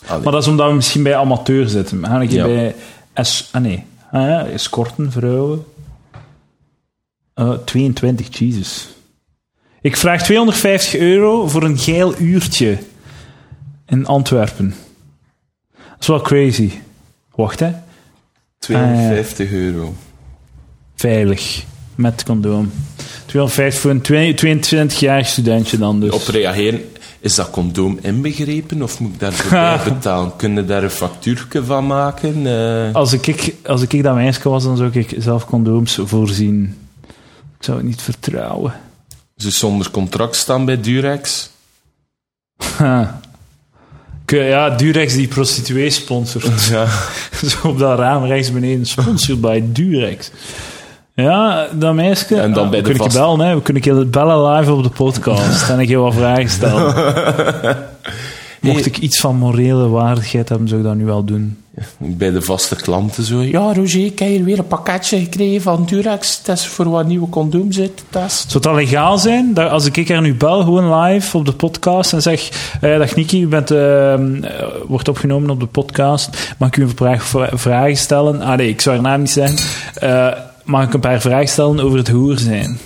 [SPEAKER 2] Allee.
[SPEAKER 1] Maar dat is omdat we misschien bij amateur zitten. We gaan een keer
[SPEAKER 2] Ja.
[SPEAKER 1] bij... Es ah, nee. Ah, ja, escorten, vrouwen. Eh, 22, Jesus. Ik vraag 250 euro voor een geil uurtje. in Antwerpen. Dat is wel crazy. Wacht, hè. Ah,
[SPEAKER 2] 52 euro.
[SPEAKER 1] Veilig. Met condoom. 250 voor een 22-jarig studentje dan dus.
[SPEAKER 2] Op reageren, is dat condoom inbegrepen of moet ik daarvoor
[SPEAKER 1] [laughs]
[SPEAKER 2] bij betalen? Kunnen we daar een factuurtje van maken? Eh,
[SPEAKER 1] Als ik, als ik dat meisje was, dan zou ik zelf condooms voorzien. Ik zou het niet vertrouwen.
[SPEAKER 2] ze zonder contract staan
[SPEAKER 1] [laughs]
[SPEAKER 2] bij Durex?
[SPEAKER 1] Ha. Ik, eh, Ja, Durex die prostituee sponsort. [laughs]
[SPEAKER 2] Ja.
[SPEAKER 1] Zo op dat raam rechts beneden, sponsored by Durex. Ja, dat meisje.
[SPEAKER 2] En dan bij
[SPEAKER 1] we
[SPEAKER 2] de
[SPEAKER 1] kunnen
[SPEAKER 2] vast-
[SPEAKER 1] je bellen, hè. We kunnen je bellen live op de podcast. en ik heel wat vragen stellen.
[SPEAKER 2] [laughs]
[SPEAKER 1] Mocht ik iets van morele waardigheid hebben, zou ik dat nu wel doen.
[SPEAKER 2] Bij de vaste klanten zo. Ja,
[SPEAKER 3] Ja, Roger, ik heb hier weer een pakketje gekregen van Durex. Dat is voor wat nieuwe condooms uit te testen.
[SPEAKER 1] Zou dat legaal zijn? Dat als ik er nu bel, gewoon live op de podcast en zeg: eh Dag Niki, u bent, eh, eh, wordt opgenomen op de podcast. Mag ik u een vraag, vra- vragen stellen? Ah nee, ik zou haar naam niet zijn. Eh, mag ik een paar vragen stellen over het hoer zijn?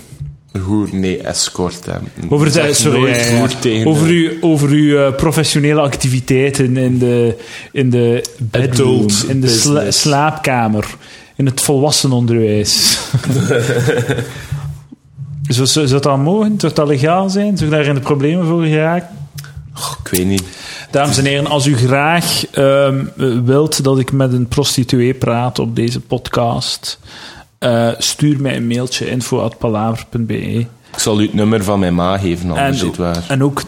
[SPEAKER 2] hoer, nee, escort. Hè.
[SPEAKER 1] Over, het,
[SPEAKER 2] Zeg
[SPEAKER 1] eh, sorry,
[SPEAKER 2] nooit
[SPEAKER 1] eh,
[SPEAKER 2] hoer tegen
[SPEAKER 1] over,
[SPEAKER 2] de-
[SPEAKER 1] uw, over uw eh, professionele activiteiten in de, in de bedroom,
[SPEAKER 2] Adult
[SPEAKER 1] in de sla-
[SPEAKER 2] business.
[SPEAKER 1] slaapkamer, in het
[SPEAKER 2] [laughs]
[SPEAKER 1] volwassenenonderwijs. zou, zou zou dat mogen? Zou dat legaal zijn? Zou ik daar in de problemen voor geraakt?
[SPEAKER 2] Ik weet niet.
[SPEAKER 1] Dames en heren, als u graag ehm, wilt dat ik met een prostituee praat op deze podcast, eh, stuur mij een mailtje info.palaver.be.
[SPEAKER 2] Ik zal u het nummer van mijn ma geven, anders
[SPEAKER 1] En-
[SPEAKER 2] zit [laughs] waar.
[SPEAKER 1] En ook. [laughs]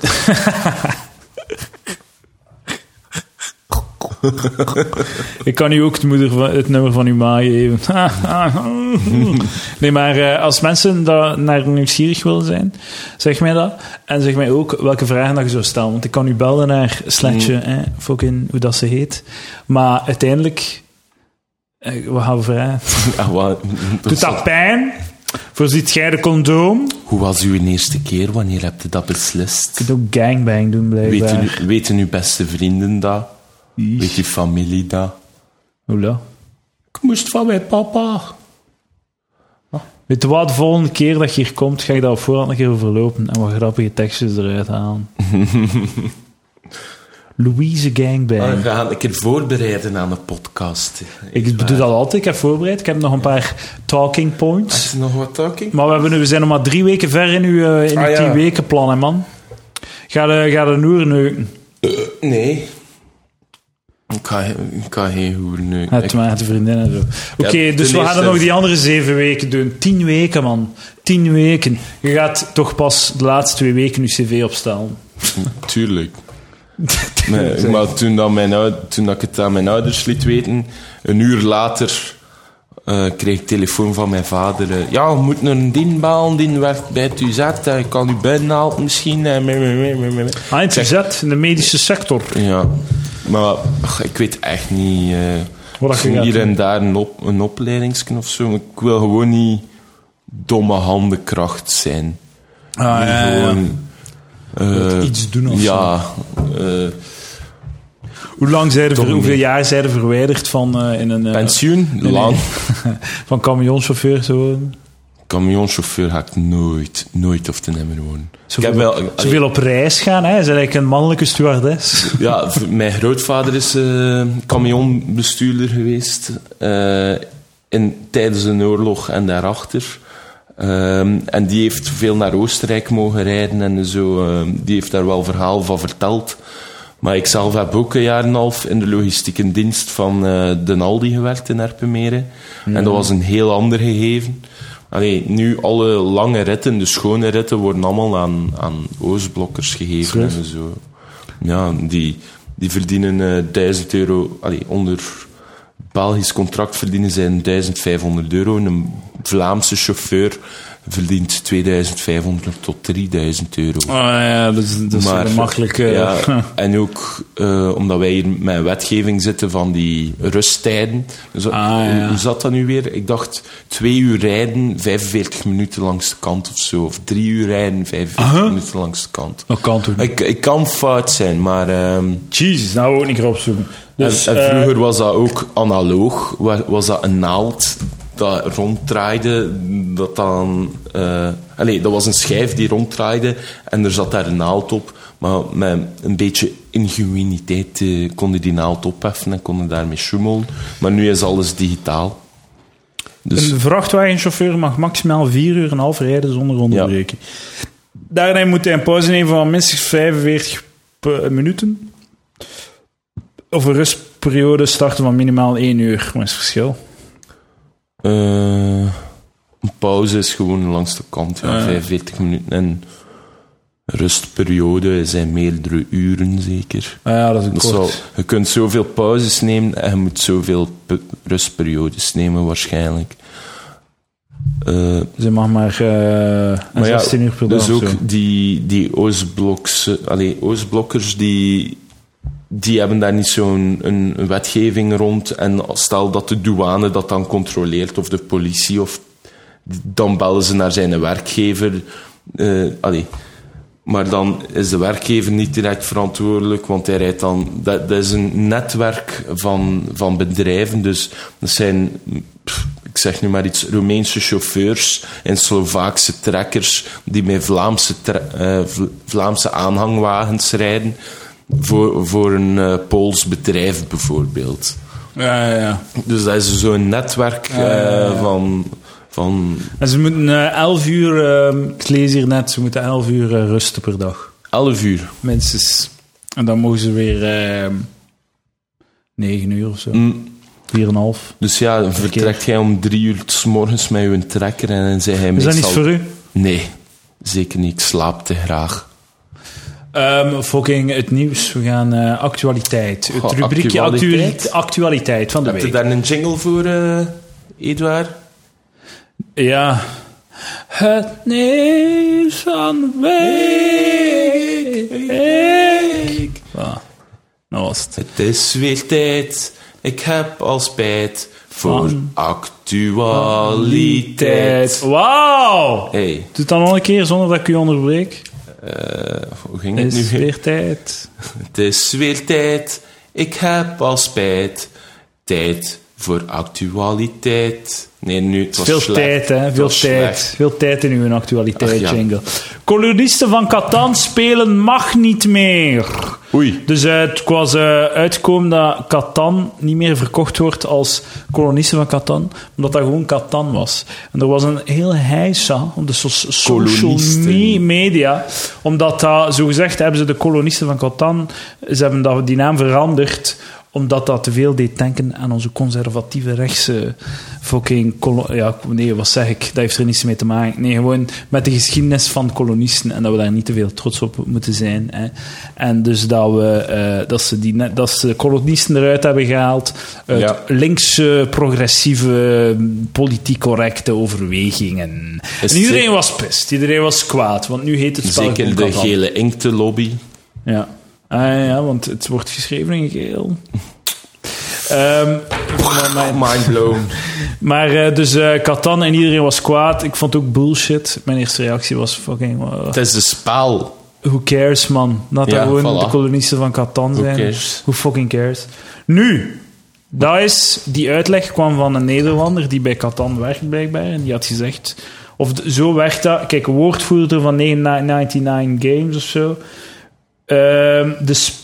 [SPEAKER 1] Ik kan u ook het, moeder van, het nummer van uw ma geven. [laughs] nee, maar eh, als mensen daar naar nieuwsgierig willen zijn, zeg mij dat. En zeg mij ook welke vragen dat je zou stellen. Want ik kan u bellen naar Sletje,
[SPEAKER 2] Mm.
[SPEAKER 1] hè, fucking hoe dat ze heet. Maar uiteindelijk, eh, wat gaan we vragen?
[SPEAKER 2] Ah, wat-
[SPEAKER 1] Doet dat pijn? Voorziet jij de condoom?
[SPEAKER 2] Hoe was uw eerste keer? Wanneer hebt u dat beslist?
[SPEAKER 1] Je kunt ook gangbang doen, blijkbaar.
[SPEAKER 2] Weten, u- weten uw beste vrienden dat? Weet uw familie dat?
[SPEAKER 1] Oula.
[SPEAKER 2] Ik moest van mijn papa.
[SPEAKER 1] Weet je wat, de volgende keer dat je hier komt, ga ik dat op voorhand een keer overlopen en wat grappige tekstjes eruit
[SPEAKER 2] [laughs]
[SPEAKER 1] halen. Louise Gangbang.
[SPEAKER 2] We gaan een keer voorbereiden aan een podcast.
[SPEAKER 1] ik doe dat altijd, ik heb voorbereid. Ik heb nog een paar talking points.
[SPEAKER 2] Is er nog wat talking?
[SPEAKER 1] Maar we, hebben, nu- we zijn nog maar drie weken ver in uw, eh, in uw
[SPEAKER 2] Ah, ja.
[SPEAKER 1] tien weken plan, hè, man. Ga de, ga de noer neuken.
[SPEAKER 2] Nee. Ik ga, ik ga geen hoer nu.
[SPEAKER 1] Het maakt de vriendinnen zo. Oké,
[SPEAKER 2] Ja,
[SPEAKER 1] dus
[SPEAKER 2] ten
[SPEAKER 1] we gaan
[SPEAKER 2] eerste-
[SPEAKER 1] er nog die andere zeven weken doen. Tien weken, man. Tien weken. Je gaat toch pas de laatste twee weken je cv opstellen. [laughs]
[SPEAKER 2] Tuurlijk. Nee, maar toen, dat mijn, ou- toen dat ik het aan mijn ouders liet weten, een uur later eh, kreeg ik telefoon van mijn vader. eh, ja, we moeten een dienbaan, die werkt bij het UZ, eh, ik kan u binnenhalen misschien. eh, meh, meh, meh, meh, meh.
[SPEAKER 1] Ah, het is in de medische sector.
[SPEAKER 2] Ja, maar ach, ik weet echt niet. eh,
[SPEAKER 1] Wat dat
[SPEAKER 2] misschien
[SPEAKER 1] je gaat
[SPEAKER 2] hier
[SPEAKER 1] doen.
[SPEAKER 2] en daar een, op, een opleidingsknop of zo. maar Ik wil gewoon niet domme handenkracht zijn.
[SPEAKER 1] Ah, ja, ja, ja.
[SPEAKER 2] Gewoon, eh,
[SPEAKER 1] iets doen of zo.
[SPEAKER 2] ja, eh,
[SPEAKER 1] Hoe lang zijn er,
[SPEAKER 2] Toch
[SPEAKER 1] ver- hoeveel
[SPEAKER 2] niet.
[SPEAKER 1] jaar zijn er verwijderd van, eh, in een, eh,
[SPEAKER 2] pensioen,
[SPEAKER 1] nee.
[SPEAKER 2] lang.
[SPEAKER 1] [laughs] van camionchauffeur? Zo,
[SPEAKER 2] Camionchauffeur ga ik nooit, nooit of te nemen worden. Ik
[SPEAKER 1] zoveel,
[SPEAKER 2] heb wel,
[SPEAKER 1] zoveel op reis gaan, hè? Ze zijn eigenlijk een mannelijke
[SPEAKER 2] [laughs]
[SPEAKER 1] stewardess.
[SPEAKER 2] ja, v- mijn grootvader is eh camionbestuurder geweest eh, in, tijdens een oorlog en daarachter. Ehm, en die heeft veel naar Oostenrijk mogen rijden en zo. ehm, die heeft daar wel verhaal van verteld. Maar ik zelf heb ook een jaar en een half in de logistieke dienst van eh de Aldi gewerkt in Erpenmeren. En dat was een heel ander gegeven. Allee, nu alle lange ritten, de schone ritten, worden allemaal aan, aan Oostblokkers gegeven en zo. Ja, die, die verdienen eh 1000 euro. Allee, onder Belgisch contract verdienen zij 1500 euro. En een Vlaamse chauffeur verdient 2500 tot 3000 euro.
[SPEAKER 1] ja, Ah, dat is, eh,
[SPEAKER 2] Maar,
[SPEAKER 1] een makkelijke... [laughs]
[SPEAKER 2] ja, en ook eh, omdat wij hier met een wetgeving zitten van die rusttijden. Zo-
[SPEAKER 1] Ah, ja.
[SPEAKER 2] hoe- Hoe zat dat nu weer? Ik dacht twee uur rijden, 45 minuten langs de kant of zo. Of drie uur rijden, 45 minuten langs de kant.
[SPEAKER 1] Dat kan toch niet?
[SPEAKER 2] Ik, ik kan fout zijn, maar... ehm,
[SPEAKER 1] Jezus, nou ook niet erop zoeken. Dus,
[SPEAKER 2] en, en
[SPEAKER 1] eh,
[SPEAKER 2] vroeger was dat ook analoog. Wa- Was dat een naald dat ronddraaide, dat dan... eh, Allee, dat was een schijf die ronddraaide en er zat daar een naald op. Maar met een beetje ingenuïteit eh, konden die naald opheffen en konden daarmee schummelen. Maar nu is alles digitaal. Dus
[SPEAKER 1] Een vrachtwagenchauffeur mag maximaal vier uur en een half rijden zonder onderbreken. Daarna moet hij een pauze nemen van minstens 45 pe- minuten. Of een rustperiode starten van minimaal één uur. Wat is het verschil?
[SPEAKER 2] eh, een pauze is gewoon langs de kant,
[SPEAKER 1] Ah,
[SPEAKER 2] ja, 45 minuten. En rustperiode zijn meerdere uren zeker.
[SPEAKER 1] Ah ja, dat is een
[SPEAKER 2] Dat
[SPEAKER 1] kort.
[SPEAKER 2] zal- je kunt zoveel pauzes nemen en je moet zoveel pu- rustperiodes nemen waarschijnlijk. Eh,
[SPEAKER 1] Ze mag maar, eh,
[SPEAKER 2] maar ja,
[SPEAKER 1] 16 uur per dag.
[SPEAKER 2] dus
[SPEAKER 1] of zo.
[SPEAKER 2] ook die, die Oostblokse, allee, Oostblokkers, die, die hebben daar niet zo'n een, een wetgeving rond. En als- stel dat de douane dat dan controleert, of de politie, of, dan bellen ze naar zijn werkgever. Eh, allee, maar dan is de werkgever niet direct verantwoordelijk, want hij rijdt dan. Dat, dat is een netwerk van, van bedrijven. Dus dat zijn, pff, ik zeg nu maar iets, Roemeense chauffeurs en Slovaakse trekkers die met Vlaamse, tre- eh, Vla- Vlaamse aanhangwagens rijden. Voor, voor een eh, Pools bedrijf bijvoorbeeld.
[SPEAKER 1] Ja, ja, ja.
[SPEAKER 2] Dus dat is zo'n netwerk
[SPEAKER 1] Ah,
[SPEAKER 2] eh, van. van
[SPEAKER 1] En ze moeten eh, 11 uur, eh, ik lees hier net, ze moeten 11 uur eh, rusten per dag.
[SPEAKER 2] 11 uur.
[SPEAKER 1] Minstens. En dan mogen ze weer eh, 9 uur of zo.
[SPEAKER 2] Mm.
[SPEAKER 1] 4,5.
[SPEAKER 2] Dus ja, vertrekt jij om drie uur s morgens met je trekker en dan zei hij
[SPEAKER 1] Is dat
[SPEAKER 2] meestal...
[SPEAKER 1] niet voor u?
[SPEAKER 2] Nee, zeker niet. Ik slaap te graag.
[SPEAKER 1] Ehm, fucking het nieuws. We gaan eh, actualiteit. Het
[SPEAKER 2] Goh,
[SPEAKER 1] rubriekje actualiteit.
[SPEAKER 2] actualiteit?
[SPEAKER 1] Actualiteit, van de
[SPEAKER 2] Heb je
[SPEAKER 1] week.
[SPEAKER 2] daar een jingle voor, eh Eduard?
[SPEAKER 1] Ja. Het nieuws van de week. Ah, nou was het.
[SPEAKER 2] Het is weer tijd. Ik heb al spijt voor
[SPEAKER 1] Van-
[SPEAKER 2] actualiteit.
[SPEAKER 1] Wauw!
[SPEAKER 2] Hey,
[SPEAKER 1] Doe het dan nog een keer zonder dat ik u onderbreek.
[SPEAKER 2] eh, hoe ging het
[SPEAKER 1] Is
[SPEAKER 2] nu?
[SPEAKER 1] weer tijd.
[SPEAKER 2] Het is weer tijd. Ik heb al spijt. Tijd voor actualiteit. Nee, nu het was
[SPEAKER 1] Veel
[SPEAKER 2] slecht.
[SPEAKER 1] tijd, hè?
[SPEAKER 2] Het
[SPEAKER 1] Veel
[SPEAKER 2] was
[SPEAKER 1] tijd.
[SPEAKER 2] slecht.
[SPEAKER 1] Veel tijd in uw actualiteit,
[SPEAKER 2] Ach, ja.
[SPEAKER 1] jingle. Kolonisten van Catan spelen mag niet meer.
[SPEAKER 2] Oei.
[SPEAKER 1] Dus eh, het was eh, uitkomen dat Catan niet meer verkocht wordt als kolonisten van Catan, omdat dat gewoon Catan was. En er was een heel heisa op de so- social
[SPEAKER 2] Kolonisten.
[SPEAKER 1] me- media, omdat dat, zogezegd hebben ze de kolonisten van Catan, ze hebben dat, die naam veranderd, omdat dat te veel deed denken aan onze conservatieve rechtse fucking... kolo- Ja, nee, wat zeg ik? Dat heeft er niets mee te maken. Nee, gewoon met de geschiedenis van kolonisten en dat we daar niet te veel trots op moeten zijn. Hè. En dus dat, we, eh, dat, ze die, net- dat ze de kolonisten eruit hebben gehaald uit
[SPEAKER 2] Ja.
[SPEAKER 1] linkse, progressieve, politiek correcte overwegingen.
[SPEAKER 2] Is
[SPEAKER 1] en iedereen
[SPEAKER 2] zeker-
[SPEAKER 1] was pist, iedereen was kwaad, want nu heet het spelletje
[SPEAKER 2] Zeker de
[SPEAKER 1] Catan.
[SPEAKER 2] gele inkte lobby.
[SPEAKER 1] Ja. Ah, ja, ja, want het wordt geschreven in geel. Ehm, maar mijn-
[SPEAKER 2] Mind blown.
[SPEAKER 1] maar eh, dus eh Catan en iedereen was kwaad. Ik vond het ook bullshit. Mijn eerste reactie was fucking... eh,
[SPEAKER 2] Het is de spaal.
[SPEAKER 1] who cares, man? Dat
[SPEAKER 2] Ja,
[SPEAKER 1] dat gewoon
[SPEAKER 2] voilà.
[SPEAKER 1] de kolonisten van Catan
[SPEAKER 2] Who
[SPEAKER 1] zijn.
[SPEAKER 2] cares?
[SPEAKER 1] Who fucking cares? Nu, dat is... Die uitleg kwam van een Nederlander die bij Catan werkt, blijkbaar. En die had gezegd... Of d- zo werkt dat... Kijk, woordvoerder van 99 Games of zo. Ehm, de, sp-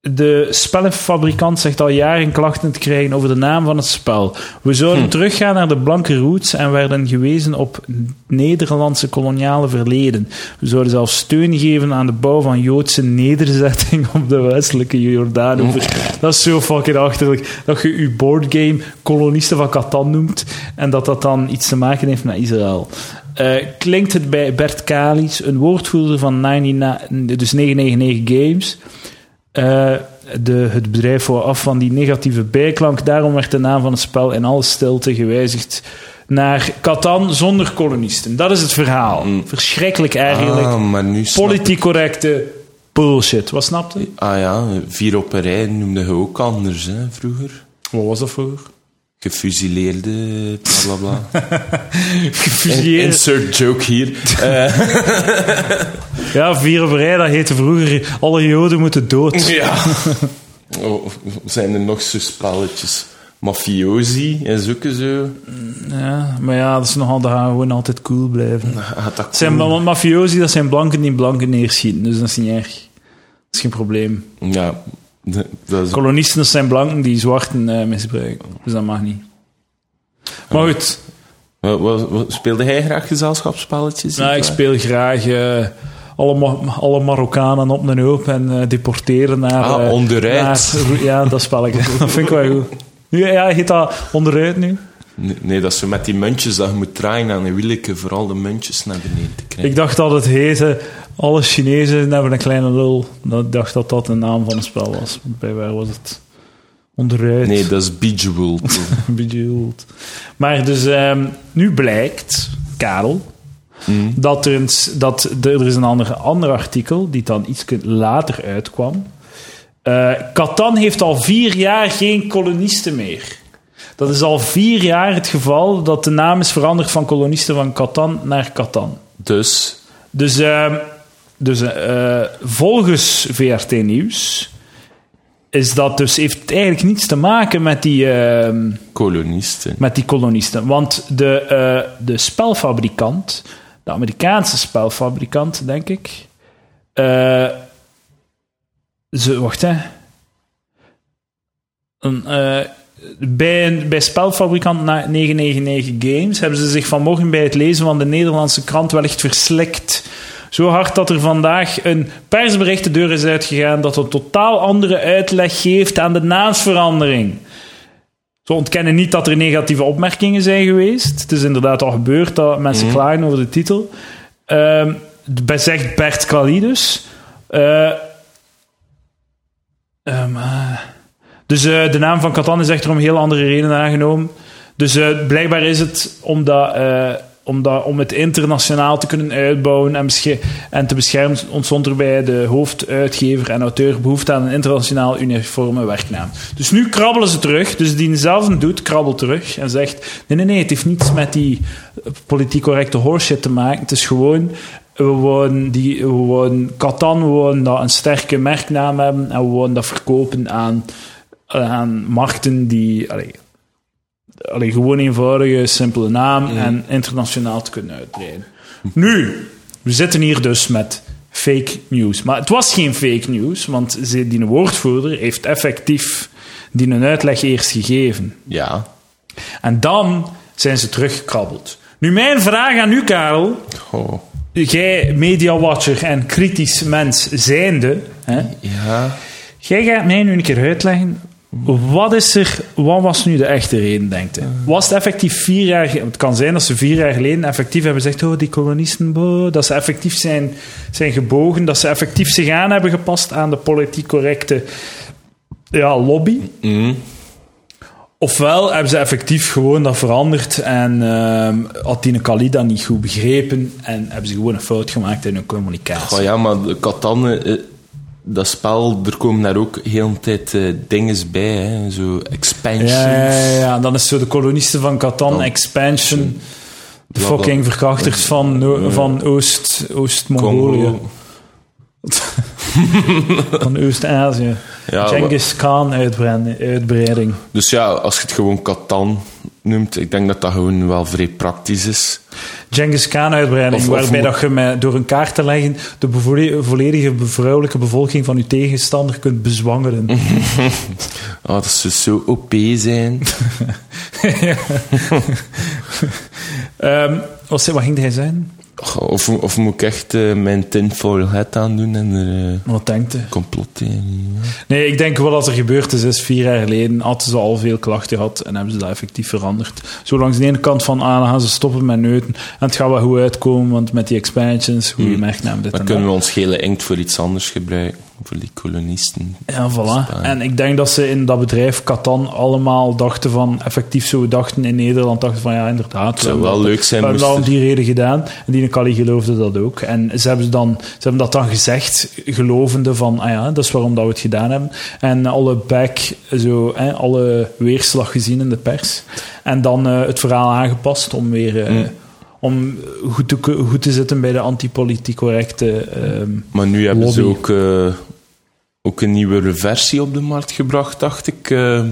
[SPEAKER 1] de spellenfabrikant zegt al jaren klachten te krijgen over de naam van het spel. We zouden teruggaan naar de blanke roots en werden gewezen op Nederlandse koloniale verleden. We zouden zelfs steun geven aan de bouw van Joodse nederzetting op de westelijke Jordaanoever. Dat is zo fucking achterlijk. Dat je je boardgame kolonisten van Catan noemt en dat dat dan iets te maken heeft met Israël. Eh, klinkt het bij Bert Kalis, een woordvoerder van 99, dus 999 Games. Eh, de, het bedrijf wou af van die negatieve bijklank. Daarom werd de naam van het spel in alle stilte gewijzigd naar Catan zonder kolonisten. Dat is het verhaal. Verschrikkelijk eigenlijk.
[SPEAKER 2] Mm. Ah, maar nu snap-
[SPEAKER 1] Politiek correcte bullshit. Wat snapte je?
[SPEAKER 2] Ah ja, vier op een rij noemde je ook anders, hè, vroeger.
[SPEAKER 1] Wat was dat [laughs] vroeger?
[SPEAKER 2] Gefusileerde, bla bla bla.
[SPEAKER 1] Gefusieerd.
[SPEAKER 2] Insert joke
[SPEAKER 1] [laughs]
[SPEAKER 2] hier. Eh,
[SPEAKER 1] Ja, vier op rij, dat heette vroeger... Alle joden moeten dood.
[SPEAKER 2] ja. Oh, zijn er nog zo spelletjes? mafiosi en zoeken zo.
[SPEAKER 1] Ja, maar ja, dat is nogal, dat gaan gewoon altijd cool blijven.
[SPEAKER 2] Gaat dat
[SPEAKER 1] Het zijn ma- mafiosi, dat zijn blanken die blanken neerschieten, dus dat is niet erg. Dat is geen probleem.
[SPEAKER 2] cool? Ja, d- dat is...
[SPEAKER 1] Kolonisten, dat zijn blanken die zwarten eh, misbruiken, dus dat mag niet. Maar goed,
[SPEAKER 2] Wat, wat- wat- speelde hij graag gezelschapsspelletjes?
[SPEAKER 1] nou, ik speel graag eh, alle, Ma- alle Marokkanen op een hoop en eh, deporteren naar...
[SPEAKER 2] Ah,
[SPEAKER 1] eh,
[SPEAKER 2] onderuit.
[SPEAKER 1] naar- ja, dat spelletje. dat vind ik [laughs] wel goed. Nu, ja, heet dat onderuit nu?
[SPEAKER 2] Nee, nee, dat is zo met die muntjes dat je moet draaien aan een wielke vooral de muntjes naar beneden te krijgen.
[SPEAKER 1] Ik dacht dat het heette Alle Chinezen hebben een kleine lul. Dat- Ik dacht dat dat de naam van het spel was. Bij mij was het onderuit.
[SPEAKER 2] Nee, dat is Bejeweled.
[SPEAKER 1] [laughs] Bedoeld. Maar dus ehm, nu blijkt, Karel, dat, er een, s- dat de- er is een ander, ander artikel die dan iets later uitkwam. Eh Catan heeft al vier jaar geen kolonisten meer. Dat is al vier jaar het geval dat de naam is veranderd van kolonisten van Catan naar Catan.
[SPEAKER 2] dus,
[SPEAKER 1] Dus, ehm, dus eh, eh, volgens VRT Nieuws is dat dus, heeft het eigenlijk niets te maken met die, ehm,
[SPEAKER 2] kolonisten.
[SPEAKER 1] met die kolonisten. Want de, eh, de spelfabrikant, de Amerikaanse spelfabrikant, denk ik. eh, ze, wacht hè. Een, eh, bij, een- bij spelfabrikant na- 999 Games hebben ze zich vanmorgen bij het lezen van de Nederlandse krant wellicht verslikt. Zo hard dat er vandaag een persbericht de deur is uitgegaan dat een totaal andere uitleg geeft aan de naamsverandering. Ze ontkennen niet dat er negatieve opmerkingen zijn geweest. Het is inderdaad al gebeurd dat mensen klagen over de titel. Ehm, be- zegt Bert Kalidus. Eh, ehm, eh. dus eh, de naam van Catan is echter om heel andere redenen aangenomen. Dus eh, blijkbaar is het omdat, eh, omdat, om het internationaal te kunnen uitbouwen en, besche- en te beschermen ontstond er bij de hoofduitgever en auteur behoefte aan een internationaal uniforme werknaam. Dus nu krabbelen ze terug. Dus die zelf doet, krabbelt terug en zegt: Nee, nee, nee, het heeft niets met die eh, politiek correcte horseshit te maken. Het is gewoon. We wonen, die, we wonen Catan, we wonen dat een sterke merknaam hebben en we wonen dat verkopen aan, aan markten die, allee, Allee, gewoon eenvoudige, simpele naam en internationaal te kunnen uitbreiden. Nu, we zitten hier dus met fake news. Maar het was geen fake news, want ze- die woordvoerder heeft effectief die een uitleg eerst gegeven.
[SPEAKER 2] Ja.
[SPEAKER 1] En dan zijn ze teruggekrabbeld. Nu, mijn vraag aan u, Karel.
[SPEAKER 2] Oh.
[SPEAKER 1] Jij, mediawatcher en kritisch mens zijnde, hè,
[SPEAKER 2] Ja.
[SPEAKER 1] Jij gaat mij nu een keer uitleggen. Wat, is er, wat was nu de echte reden, denkt u? Was het effectief vier jaar... ge- Het kan zijn dat ze vier jaar geleden effectief hebben gezegd... Oh, die kolonisten, boh, dat ze effectief zijn, zijn gebogen. Dat ze effectief zich aan hebben gepast aan de politiek correcte ja, lobby.
[SPEAKER 2] Mm.
[SPEAKER 1] Ofwel hebben ze effectief gewoon dat veranderd en ehm had Tine Kali dat niet goed begrepen en hebben ze gewoon een fout gemaakt in hun communicatie.
[SPEAKER 2] Oh ja, maar de Catan, eh, dat spel, er komen daar ook heel een tijd eh dinges bij, hè. Zo expansions.
[SPEAKER 1] Ja, ja, ja, ja. dan is zo de kolonisten van Catan, Expansion, de
[SPEAKER 2] Bla, bla.
[SPEAKER 1] fucking verkrachters van, No- van Oost- Oost-Mongolië.
[SPEAKER 2] Congo.
[SPEAKER 1] van Oost-Azië.
[SPEAKER 2] Ja,
[SPEAKER 1] Genghis Khan uitbreiding. uitbreiding.
[SPEAKER 2] Dus ja, als je het gewoon Catan noemt, ik denk dat dat gewoon wel vrij praktisch is.
[SPEAKER 1] Genghis Khan uitbreiding,
[SPEAKER 2] Of- of
[SPEAKER 1] waarbij
[SPEAKER 2] mo-
[SPEAKER 1] dat je met, door een kaart te leggen de bevo- volledige be- vrouwelijke bevolking van je tegenstander kunt bezwangeren.
[SPEAKER 2] Mm. Ah, dat ze zo OP
[SPEAKER 1] [laughs]
[SPEAKER 2] zijn.
[SPEAKER 1] Ehm, wat, zei- wat ging hij zijn?
[SPEAKER 2] Och, Of, of moet ik echt eh, mijn tinfoil hat aandoen en er eh
[SPEAKER 1] Wat denkt hij?
[SPEAKER 2] complot in?
[SPEAKER 1] Nee, ik denk wel dat er gebeurd is, is vier jaar geleden hadden ze al veel klachten gehad en hebben ze dat effectief veranderd. Zo langs de ene kant van, ah, dan gaan ze stoppen met neuten en het gaat wel goed uitkomen, want met die expansions, goede merknaam, dit
[SPEAKER 2] Dan
[SPEAKER 1] en
[SPEAKER 2] kunnen
[SPEAKER 1] dat.
[SPEAKER 2] we ons gele inkt voor iets anders gebruiken. Voor die kolonisten.
[SPEAKER 1] Ja, voilà. En ik denk dat ze in dat bedrijf Catan allemaal dachten van, effectief zo we dachten in Nederland, dachten van, ja, inderdaad. Het
[SPEAKER 2] zou wel leuk zijn
[SPEAKER 1] We hebben dat om
[SPEAKER 2] moest
[SPEAKER 1] die reden gedaan. En die Kali geloofde dat ook. En ze hebben, dan, ze hebben dat dan gezegd, gelovende van, ah ja, dat is waarom dat we het gedaan hebben. En alle back, zo, hè, alle weerslag gezien in de pers. En dan eh, het verhaal aangepast om weer... eh, Om goed te, ko- goed te zitten bij de antipolitiek correcte. ehm,
[SPEAKER 2] Maar nu hebben ze
[SPEAKER 1] Lobby.
[SPEAKER 2] ook, eh, ook een nieuwe versie op de markt gebracht, dacht ik. eh,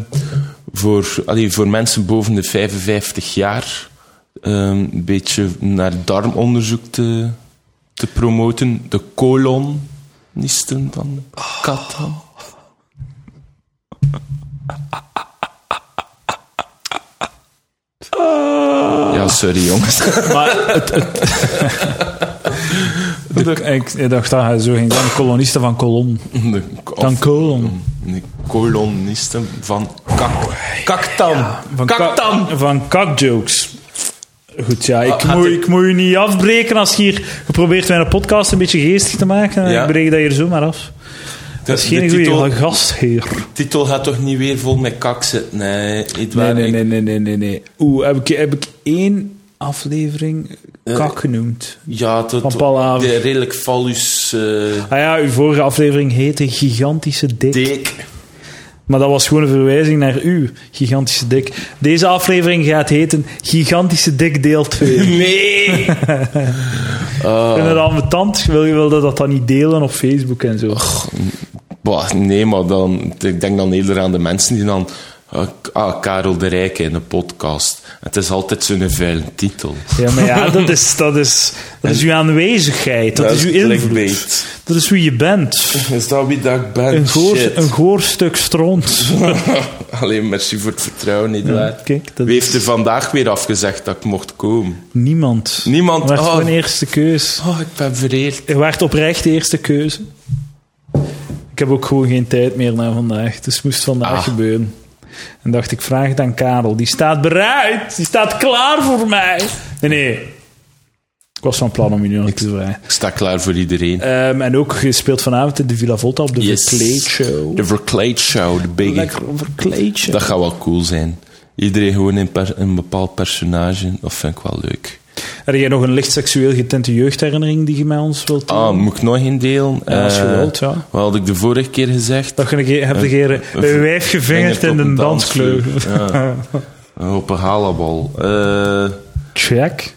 [SPEAKER 2] voor, allee, voor mensen boven de 55 jaar ehm, een beetje naar darmonderzoek te, te promoten. De kolonisten van Catan. Ja, sorry jongens. [laughs]
[SPEAKER 1] Maar het, [laughs] het, de, ik, ik dacht dat hij zo ging zijn. Kolonisten van kolon.
[SPEAKER 2] De,
[SPEAKER 1] Dan kolon.
[SPEAKER 2] de kolonisten van Kak, Kaktan.
[SPEAKER 1] Oh, Van
[SPEAKER 2] Kaktan!
[SPEAKER 1] kak- Van kakjokes. Goed, ja. Ik,
[SPEAKER 2] Ah, gaat
[SPEAKER 1] moet,
[SPEAKER 2] dit-
[SPEAKER 1] ik moet u niet afbreken als je hier geprobeerd mijn podcast een beetje geestig te maken.
[SPEAKER 2] Ja.
[SPEAKER 1] Ik breek dat hier zomaar af. Dat is
[SPEAKER 2] De- de
[SPEAKER 1] geen
[SPEAKER 2] titel-
[SPEAKER 1] goede gastheer.
[SPEAKER 2] titel gaat toch niet weer vol met kak zitten? Nee,
[SPEAKER 1] Nee,
[SPEAKER 2] Edouard,
[SPEAKER 1] nee,
[SPEAKER 2] ik-
[SPEAKER 1] nee, nee, nee, nee, nee. Oeh, heb ik, heb ik één aflevering kak genoemd?
[SPEAKER 2] Ja, tot,
[SPEAKER 1] Van Palaver.
[SPEAKER 2] de redelijk fallus eh
[SPEAKER 1] Ah ja, uw vorige aflevering heette Gigantische Dik.
[SPEAKER 2] dik.
[SPEAKER 1] Maar dat was gewoon een verwijzing naar u, Gigantische Dik. Deze aflevering gaat heten Gigantische Dik deel 2.
[SPEAKER 2] [laughs] Nee! Eh,
[SPEAKER 1] Ik vind het ambetant. Wil je wel dat dat dan niet delen op Facebook en zo?
[SPEAKER 2] Oh, Bah, nee, maar dan, ik denk dan eerder aan de mensen die dan... ah, K- ah, Karel de Rijke in een podcast. Het is altijd zo'n vuile titel.
[SPEAKER 1] Ja, maar ja, dat is, dat is, dat is uw aanwezigheid. Dat,
[SPEAKER 2] Dat
[SPEAKER 1] is
[SPEAKER 2] is
[SPEAKER 1] uw invloed.
[SPEAKER 2] clickbait.
[SPEAKER 1] Dat is wie je bent.
[SPEAKER 2] Is dat wie dat ik ben?
[SPEAKER 1] Een goor,
[SPEAKER 2] Oh, Shit.
[SPEAKER 1] een goor stuk
[SPEAKER 2] [laughs]
[SPEAKER 1] stront.
[SPEAKER 2] Alleen merci voor het vertrouwen, nietwaar?
[SPEAKER 1] Kijk, dat
[SPEAKER 2] Wie
[SPEAKER 1] is
[SPEAKER 2] heeft er vandaag weer afgezegd dat ik mocht komen?
[SPEAKER 1] niemand.
[SPEAKER 2] Niemand.
[SPEAKER 1] werd
[SPEAKER 2] Oh.
[SPEAKER 1] gewoon eerste keus.
[SPEAKER 2] Oh, ik ben vereerd.
[SPEAKER 1] Je werd oprecht de eerste keuze. Ik heb ook gewoon geen tijd meer naar vandaag. Dus het moest vandaag
[SPEAKER 2] Ah.
[SPEAKER 1] gebeuren. En dacht ik, vraag het aan Karel. Die staat bereid. Die staat klaar voor mij. Nee, nee. Ik was van plan om jullie nog te vragen.
[SPEAKER 2] Ik sta klaar voor iedereen.
[SPEAKER 1] Ehm, en ook gespeeld vanavond in de Villa Volta op de
[SPEAKER 2] Yes.
[SPEAKER 1] Verkleed Show.
[SPEAKER 2] De Verkleed Show, de biggie.
[SPEAKER 1] Lekker verkleedje.
[SPEAKER 2] Dat gaat wel cool zijn. Iedereen gewoon in per- een bepaald personage. Dat vind ik wel leuk.
[SPEAKER 1] Heb jij nog een licht seksueel getinte jeugdherinnering die je met ons wilt delen?
[SPEAKER 2] Ah, moet ik nog een deel?
[SPEAKER 1] Ja, als je
[SPEAKER 2] Eh,
[SPEAKER 1] wilt, ja.
[SPEAKER 2] Wat had ik de vorige keer gezegd?
[SPEAKER 1] Dat je een keer, heb je een keer een wijf gevingerd
[SPEAKER 2] Vinger
[SPEAKER 1] in
[SPEAKER 2] op
[SPEAKER 1] een
[SPEAKER 2] een
[SPEAKER 1] danskleur.
[SPEAKER 2] dansvloer. Eh, Op een halabal. Eh,
[SPEAKER 1] Check.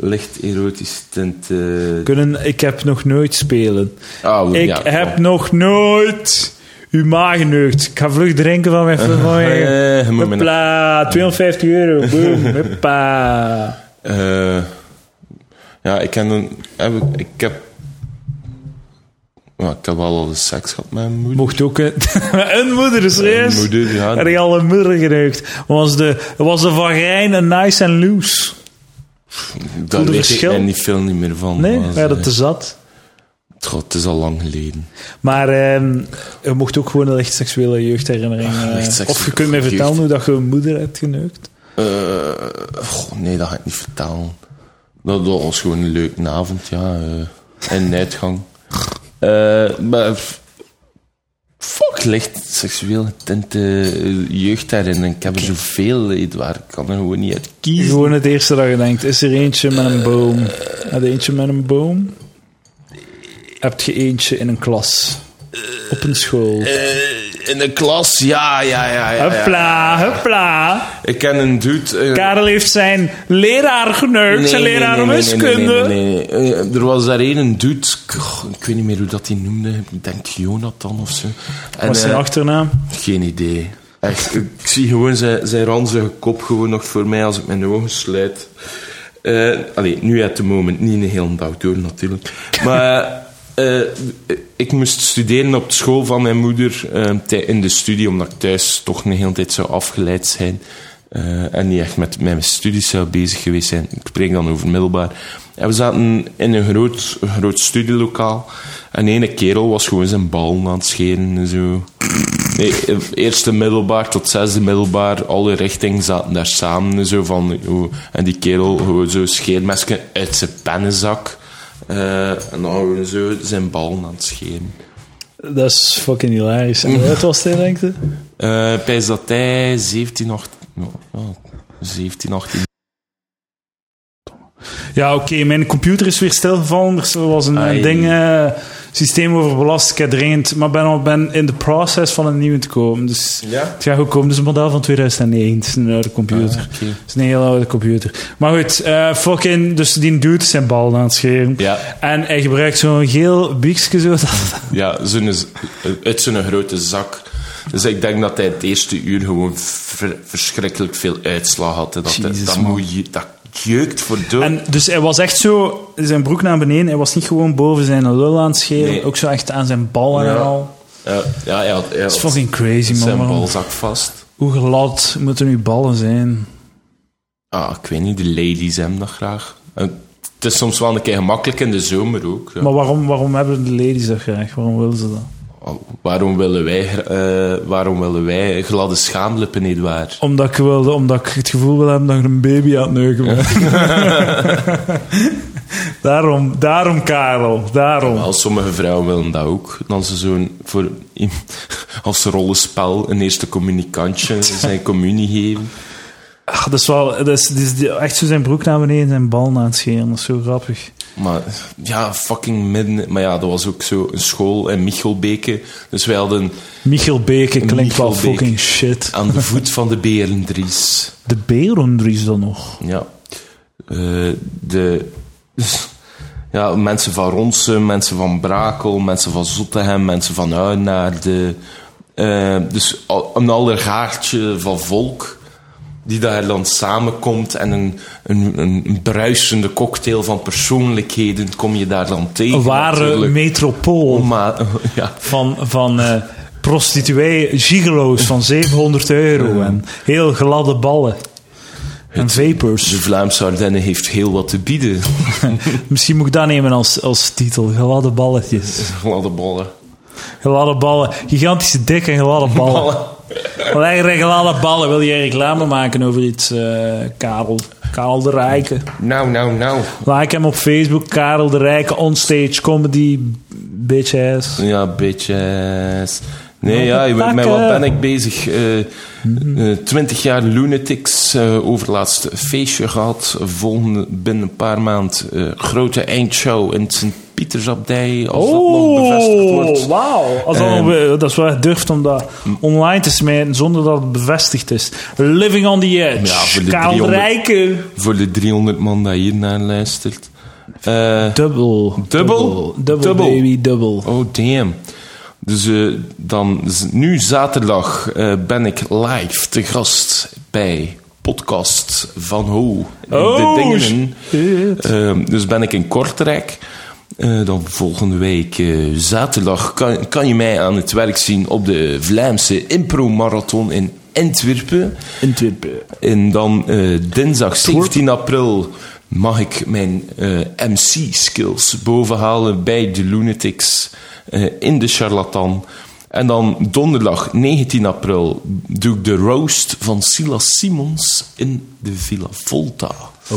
[SPEAKER 2] licht erotisch tint. eh.
[SPEAKER 1] Kunnen, ik heb nog nooit spelen.
[SPEAKER 2] Ah, wel,
[SPEAKER 1] Ik
[SPEAKER 2] ja,
[SPEAKER 1] heb nog nooit uw maag geneukt. Ik ga vlug drinken van mijn
[SPEAKER 2] [laughs]
[SPEAKER 1] van mijn-
[SPEAKER 2] Eh, je moet me nog-
[SPEAKER 1] Hopla, 250
[SPEAKER 2] [laughs]
[SPEAKER 1] euro. Boom. Hoppa.
[SPEAKER 2] Eh, ja, ik heb, een, heb ik, ik heb... Ja, ik heb wel al eens seks gehad met mijn moeder.
[SPEAKER 1] Mocht ook een, [laughs] een moeder, serieus?
[SPEAKER 2] Een moeder, ja.
[SPEAKER 1] Heb je al een moeder geneukt? Was de, was de vagijn een nice en loose?
[SPEAKER 2] Daar weet
[SPEAKER 1] verschil?
[SPEAKER 2] ik mij niet veel niet meer van.
[SPEAKER 1] Nee,
[SPEAKER 2] maar,
[SPEAKER 1] ja, dat
[SPEAKER 2] eh,
[SPEAKER 1] is zat.
[SPEAKER 2] God, het is al lang geleden.
[SPEAKER 1] Maar ehm, je mocht ook gewoon een licht seksuele jeugdherinnering. eh,
[SPEAKER 2] licht Ah, seksuele
[SPEAKER 1] of je kunt mij
[SPEAKER 2] jeugd.
[SPEAKER 1] vertellen hoe dat je een moeder hebt geneukt.
[SPEAKER 2] Eh, goh, nee, dat ga ik niet vertellen. Dat, dat was gewoon een leuke avond, ja. eh, en een uitgang. Eh, maar... f- Fuck, licht seksueel getinte eh, jeugdherinnering. Ik heb er zoveel, Edouard. Ik kan er gewoon niet uit kiezen.
[SPEAKER 1] Gewoon het eerste dat je denkt, is er eentje met een boom? Had je eentje met een boom? Heb je eentje in een klas? Op een school?
[SPEAKER 2] Eh, in de klas, ja, ja, ja. ja, ja.
[SPEAKER 1] Hupla, hupla.
[SPEAKER 2] Ik ken een dude... eh,
[SPEAKER 1] Karel heeft zijn leraar geneukt, zijn leraar wiskunde.
[SPEAKER 2] Nee, nee, nee, nee. Eh, Er was daar één, een dude, ik, goh, ik weet niet meer hoe dat die noemde, ik denk Jonathan of zo. En,
[SPEAKER 1] Wat is zijn
[SPEAKER 2] eh,
[SPEAKER 1] achternaam?
[SPEAKER 2] geen idee. Echt, ik ik zie gewoon zijn, zijn ranzige kop gewoon nog voor mij als ik mijn ogen sluit. Eh allee, nu at the moment, niet een hele dag door natuurlijk. Maar eh, ik moest studeren op de school van mijn moeder eh, tij- in de studie, omdat ik thuis toch een hele tijd zou afgeleid zijn. eh, en niet echt met mijn studies zou bezig geweest zijn. Ik spreek dan over middelbaar. En we zaten in een groot, groot studielokaal. En ene kerel was gewoon zijn ballen aan het scheren en zo. Nee, eerste middelbaar tot zesde middelbaar, alle richtingen zaten daar samen. en Zo van, hoe- en die kerel gewoon zo scheermesken uit zijn pennenzak. eh, en dan gewoon zo zijn ballen aan het scheren.
[SPEAKER 1] Dat is fucking hilarisch.
[SPEAKER 2] Mm.
[SPEAKER 1] En wat was hij, denk je?
[SPEAKER 2] Eh ik pijs dat hij 17, 18... ja, ja, 17, 18...
[SPEAKER 1] Ja, oké, mijn computer is weer stilgevallen. Er was een
[SPEAKER 2] Ai.
[SPEAKER 1] een ding, eh, systeem overbelast. Ik heb dringend, maar ben, al, ben in de process van een nieuwe te komen. Dus
[SPEAKER 2] Ja?
[SPEAKER 1] het gaat goed komen. Het is een model van 2009. Het is een oude computer.
[SPEAKER 2] Ah, oké.
[SPEAKER 1] Het is een heel oude computer. Maar goed, eh, fucking, dus die dude is zijn bal aan het scheren.
[SPEAKER 2] Ja.
[SPEAKER 1] En hij gebruikt zo'n geel biekje zo. Dat,
[SPEAKER 2] Ja, zo'n, uit zo'n grote zak. Dus ik denk dat hij het eerste uur gewoon ver- verschrikkelijk veel uitslag had. En dat, hij-
[SPEAKER 1] Jezus,
[SPEAKER 2] dat,
[SPEAKER 1] man.
[SPEAKER 2] moet je, dat jeukt voor dood.
[SPEAKER 1] En dus hij was echt zo, zijn broek naar beneden. Hij was niet gewoon boven zijn lul aan het scheren.
[SPEAKER 2] Nee.
[SPEAKER 1] Ook zo echt aan zijn bal en
[SPEAKER 2] Ja.
[SPEAKER 1] al.
[SPEAKER 2] Ja, ja, hij had, hij
[SPEAKER 1] Dat is
[SPEAKER 2] had
[SPEAKER 1] fucking crazy, man.
[SPEAKER 2] zijn
[SPEAKER 1] Waarom-
[SPEAKER 2] balzak vast.
[SPEAKER 1] Hoe glad moeten uw ballen zijn?
[SPEAKER 2] Ah, ik weet niet, de ladies hebben dat graag. En het is soms wel een keer gemakkelijk in de zomer ook. ja.
[SPEAKER 1] Maar waarom, waarom hebben de ladies dat graag? Waarom willen ze dat?
[SPEAKER 2] Oh, Waarom willen wij, eh, waarom willen wij gladde schaamlippen, Edouard?
[SPEAKER 1] Omdat ik, wilde, omdat ik het gevoel wil hebben dat ik een baby aan het neuken ben. [laughs] daarom, daarom, Karel. Daarom.
[SPEAKER 2] Als sommige vrouwen willen dat ook. Dan ze zo'n voor [laughs] als rollenspel een eerste communicantje zijn communie geven.
[SPEAKER 1] Ach, dat is wel dat is, dat is die- echt zo zijn broek naar beneden en zijn bal naar het scheren. Dat is zo grappig.
[SPEAKER 2] Maar ja, fucking midden. Maar ja, dat was ook zo een school in Michelbeke. Dus wij hadden
[SPEAKER 1] Michiel Beke klinkt wel
[SPEAKER 2] Michiel Beke.
[SPEAKER 1] fucking shit.
[SPEAKER 2] aan de voet van de Berendries.
[SPEAKER 1] De Berendries dan nog.
[SPEAKER 2] Ja. Eh, de, [laughs] ja, mensen van Ronsen, mensen van Brakel, mensen van Zottegem, mensen van Uinaarde. Eh dus al- een allergaartje van volk die daar dan samenkomt en een, een, een een bruisende cocktail van persoonlijkheden kom je daar dan tegen.
[SPEAKER 1] Een ware
[SPEAKER 2] natuurlijk.
[SPEAKER 1] metropool
[SPEAKER 2] Oma- [laughs] ja.
[SPEAKER 1] van, van eh, prostituee gigolo's van 700 euro. En heel gladde ballen. En vapers.
[SPEAKER 2] De Vlaamse Ardennen heeft heel wat te bieden. [laughs]
[SPEAKER 1] Misschien moet ik dat nemen als, als titel. Gladde balletjes.
[SPEAKER 2] Gladde ballen.
[SPEAKER 1] Oh. Gladde ballen. Gigantische dik en
[SPEAKER 2] [laughs]
[SPEAKER 1] gladde ballen. Lekkere gladde ballen. Wil jij reclame maken over iets, eh, Karel? Karel de Rijke.
[SPEAKER 2] Nou, nou, nou.
[SPEAKER 1] Like hem op Facebook. Karel de Rijke onstage comedy. Bitch ass.
[SPEAKER 2] Ja, bitches. Nee,
[SPEAKER 1] Nog
[SPEAKER 2] ja, je bent- met
[SPEAKER 1] pakken.
[SPEAKER 2] wat ben ik bezig? Eh, eh, 20 jaar Lunatics, eh overlaatst feestje gehad. Volgende, binnen een paar maand eh, grote eindshow in Sint-Pietersabdij. Als dat nog bevestigd wordt.
[SPEAKER 1] Oh, wauw. Als dat,
[SPEAKER 2] Ehm.
[SPEAKER 1] nog- dat is wel echt durft om dat online te smijten zonder dat het bevestigd is. Living on the
[SPEAKER 2] Ja,
[SPEAKER 1] edge.
[SPEAKER 2] voor de
[SPEAKER 1] Karel de
[SPEAKER 2] 300.
[SPEAKER 1] Rijke.
[SPEAKER 2] Voor de 300 man die hier naar luistert. Eh,
[SPEAKER 1] Dubbel.
[SPEAKER 2] Dubbel?
[SPEAKER 1] Dubbel,
[SPEAKER 2] Dubbel.
[SPEAKER 1] baby, dubbel.
[SPEAKER 2] Oh, damn. Dus eh, dan, z- nu zaterdag eh, ben ik live te gast bij podcast Van Ho. in
[SPEAKER 1] Oh,
[SPEAKER 2] de dingen.
[SPEAKER 1] shit.
[SPEAKER 2] dus ben ik in Kortrijk. Eh, dan volgende week eh, zaterdag kan, kan je mij aan het werk zien op de Vlaamse Impro Marathon in Antwerpen.
[SPEAKER 1] Antwerpen.
[SPEAKER 2] En dan eh, dinsdag 17 april mag ik mijn eh, MC-skills bovenhalen bij de Lunatics eh, in de Charlatan. En dan donderdag 19 april doe ik de roast van Silas Simons in de Villa Volta.
[SPEAKER 1] De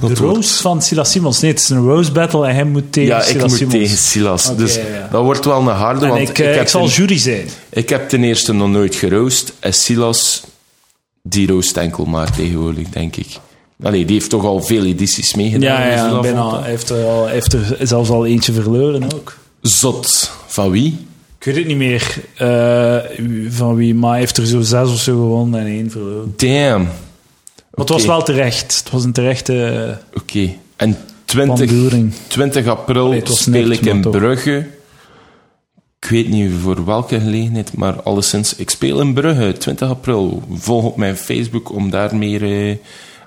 [SPEAKER 2] Dat wordt-
[SPEAKER 1] roast van Silas Simons. Nee, het is een roast battle en hij moet tegen
[SPEAKER 2] Ja, ik
[SPEAKER 1] Silas
[SPEAKER 2] moet
[SPEAKER 1] Simons.
[SPEAKER 2] tegen Silas.
[SPEAKER 1] Oké,
[SPEAKER 2] dus
[SPEAKER 1] ja, ja.
[SPEAKER 2] dat wordt wel een harde,
[SPEAKER 1] En
[SPEAKER 2] want
[SPEAKER 1] ik, eh, ik,
[SPEAKER 2] heb
[SPEAKER 1] zal
[SPEAKER 2] een-
[SPEAKER 1] jury zijn.
[SPEAKER 2] Ik heb ten eerste nog nooit geroost. En Silas, die roost enkel maar tegenwoordig, denk ik. Allee, die heeft toch al veel edities meegedaan.
[SPEAKER 1] Ja,
[SPEAKER 2] dus
[SPEAKER 1] ja,
[SPEAKER 2] dat vond
[SPEAKER 1] bijna.
[SPEAKER 2] ik-
[SPEAKER 1] Hij heeft er, al, hij heeft er zelfs al eentje verloren ook.
[SPEAKER 2] Zot. Van wie?
[SPEAKER 1] Ik weet het niet meer eh, van wie, maar hij heeft er zo zes of zo gewonnen en één verloren.
[SPEAKER 2] Damn. Oké.
[SPEAKER 1] Maar het was wel terecht. Het was een terechte eh,
[SPEAKER 2] Oké. En
[SPEAKER 1] panduring.
[SPEAKER 2] 20, 20 april
[SPEAKER 1] Allee, het was
[SPEAKER 2] speel
[SPEAKER 1] nipt,
[SPEAKER 2] ik in
[SPEAKER 1] maar toch.
[SPEAKER 2] Brugge. Ik weet niet voor welke gelegenheid, maar alleszins. Ik speel in Brugge, 20 april. Volg op mijn Facebook om daar meer eh,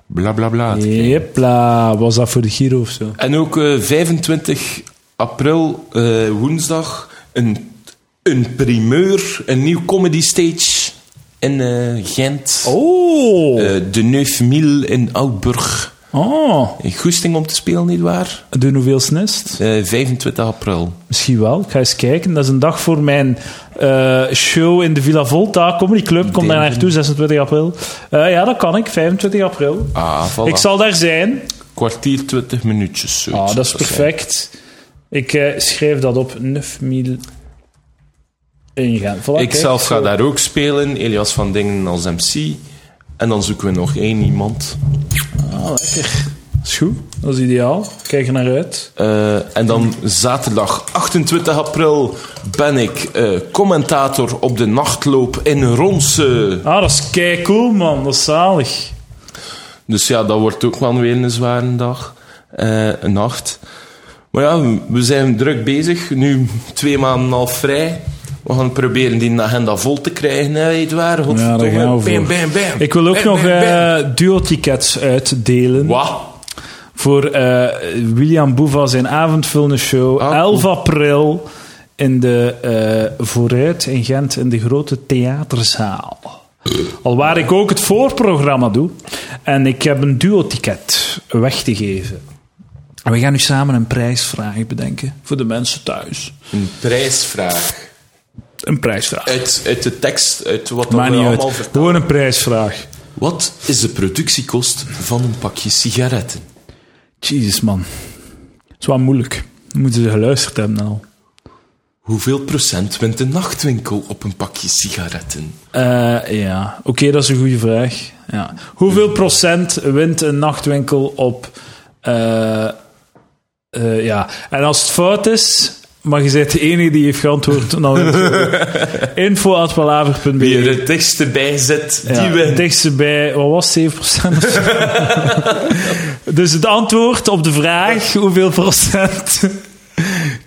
[SPEAKER 2] bla bla bla te krijgen.
[SPEAKER 1] Jepla, was dat voor de Giro of zo?
[SPEAKER 2] En ook eh, 25 april, eh, woensdag, een, een primeur, een nieuw comedy stage in eh, Gent.
[SPEAKER 1] Oh!
[SPEAKER 2] Eh, de Neufmil in Oudburg.
[SPEAKER 1] oh,
[SPEAKER 2] Een goesting om te spelen, nietwaar?
[SPEAKER 1] de hoeveelste is het?
[SPEAKER 2] Eh 25 april.
[SPEAKER 1] Misschien wel. Ik ga eens kijken. Dat is een dag voor mijn eh, show in de Villa Volta Comedy Club. Kom daar
[SPEAKER 2] Denk-
[SPEAKER 1] naartoe, 26 april. Eh, ja, dat kan ik, 25 april.
[SPEAKER 2] Ah, voilà.
[SPEAKER 1] Ik zal daar zijn.
[SPEAKER 2] Kwartier, 20 minuutjes. zoiets
[SPEAKER 1] Ah, dat is
[SPEAKER 2] zou zijn.
[SPEAKER 1] perfect. Ik eh, schrijf dat op 9000 in Gent. Voilà,
[SPEAKER 2] Ik
[SPEAKER 1] kijk,
[SPEAKER 2] zelf ga
[SPEAKER 1] zo.
[SPEAKER 2] daar ook spelen, Elias van Dingen als MC. En dan zoeken we nog één iemand.
[SPEAKER 1] Ah, lekker. Dat is goed. Dat is ideaal. Kijk er naar uit.
[SPEAKER 2] Eh, en dan zaterdag 28 april ben ik eh, commentator op de nachtloop in Ronse.
[SPEAKER 1] Ah, dat is kei cool, man. Dat is zalig.
[SPEAKER 2] Dus ja, dat wordt ook wel weer een zware dag. eh, een nacht. Maar ja, we zijn druk bezig. Nu twee maanden al vrij. We gaan proberen die agenda vol te krijgen, hè, Edouard.
[SPEAKER 1] Ja, daar gaan we voor.
[SPEAKER 2] Bam, bam, bam.
[SPEAKER 1] Ik wil ook
[SPEAKER 2] Bam,
[SPEAKER 1] nog
[SPEAKER 2] bam, bam.
[SPEAKER 1] eh duo-tickets uitdelen.
[SPEAKER 2] Wat?
[SPEAKER 1] Voor eh, William Boeva zijn avondvullende show.
[SPEAKER 2] Ah, cool.
[SPEAKER 1] 11 april in de eh, Vooruit in Gent in de grote theaterzaal. Alwaar ik ook het voorprogramma doe. En ik heb een duo-ticket weg te geven. En we gaan nu samen een prijsvraag bedenken voor de mensen thuis.
[SPEAKER 2] Een prijsvraag.
[SPEAKER 1] Een prijsvraag.
[SPEAKER 2] Uit, uit de tekst, uit wat dat we
[SPEAKER 1] Maakt niet
[SPEAKER 2] Eh, allemaal
[SPEAKER 1] uit.
[SPEAKER 2] vertellen.
[SPEAKER 1] Gewoon een prijsvraag.
[SPEAKER 2] Wat is de productiekost van een pakje sigaretten?
[SPEAKER 1] Jezus, man. Het is wel moeilijk. Dan moeten ze geluisterd hebben en al.
[SPEAKER 2] Hoeveel procent wint de nachtwinkel op een pakje sigaretten?
[SPEAKER 1] Eh, ja, oké, dat is een goede vraag. Ja. Hoeveel procent wint een nachtwinkel op... eh, eh, ja, en als het fout is, maar je bent de enige die heeft geantwoord, dan wint
[SPEAKER 2] [laughs]
[SPEAKER 1] je. info.palaver.be
[SPEAKER 2] Wie er het tekst erbij zet, die
[SPEAKER 1] ja, E. het
[SPEAKER 2] wint.
[SPEAKER 1] dichtste bij, wat was het, 7% of zo? [laughs] dus het antwoord op de vraag hoeveel procent [laughs]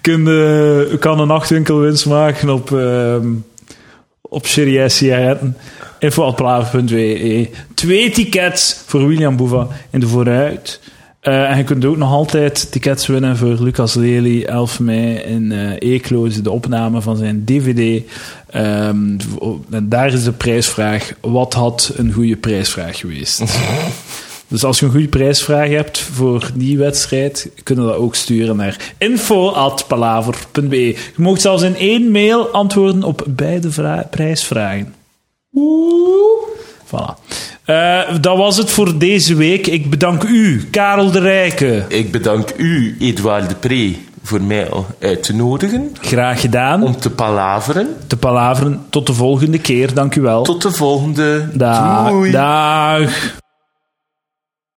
[SPEAKER 1] kun je- kan een nachtwinkel winst maken op, ehm op serieus sigaretten? Info.plaver.we E. Twee tickets voor William Boeva in de vooruit. Eh, en je kunt ook nog altijd tickets winnen voor Lucas Lely 11 mei in eh Eeklo, is de opname van zijn DVD. Ehm, v- en daar is de prijsvraag: wat had een goede prijsvraag geweest? dus als je een goede prijsvraag hebt voor die wedstrijd, kunnen we dat ook sturen naar info.palaver.be. Je mag zelfs in één mail antwoorden op beide vra- prijsvragen. Voilà. Eh, dat was het voor deze week. Ik bedank u, Karel de Rijke.
[SPEAKER 2] Ik bedank u, Edouard de Pre, voor mij uit te nodigen
[SPEAKER 1] Graag gedaan.
[SPEAKER 2] om te palaveren.
[SPEAKER 1] Te palaveren. Tot de volgende keer. Dank u wel.
[SPEAKER 2] Tot de volgende.
[SPEAKER 1] Dag.
[SPEAKER 2] Doei.
[SPEAKER 1] Dag.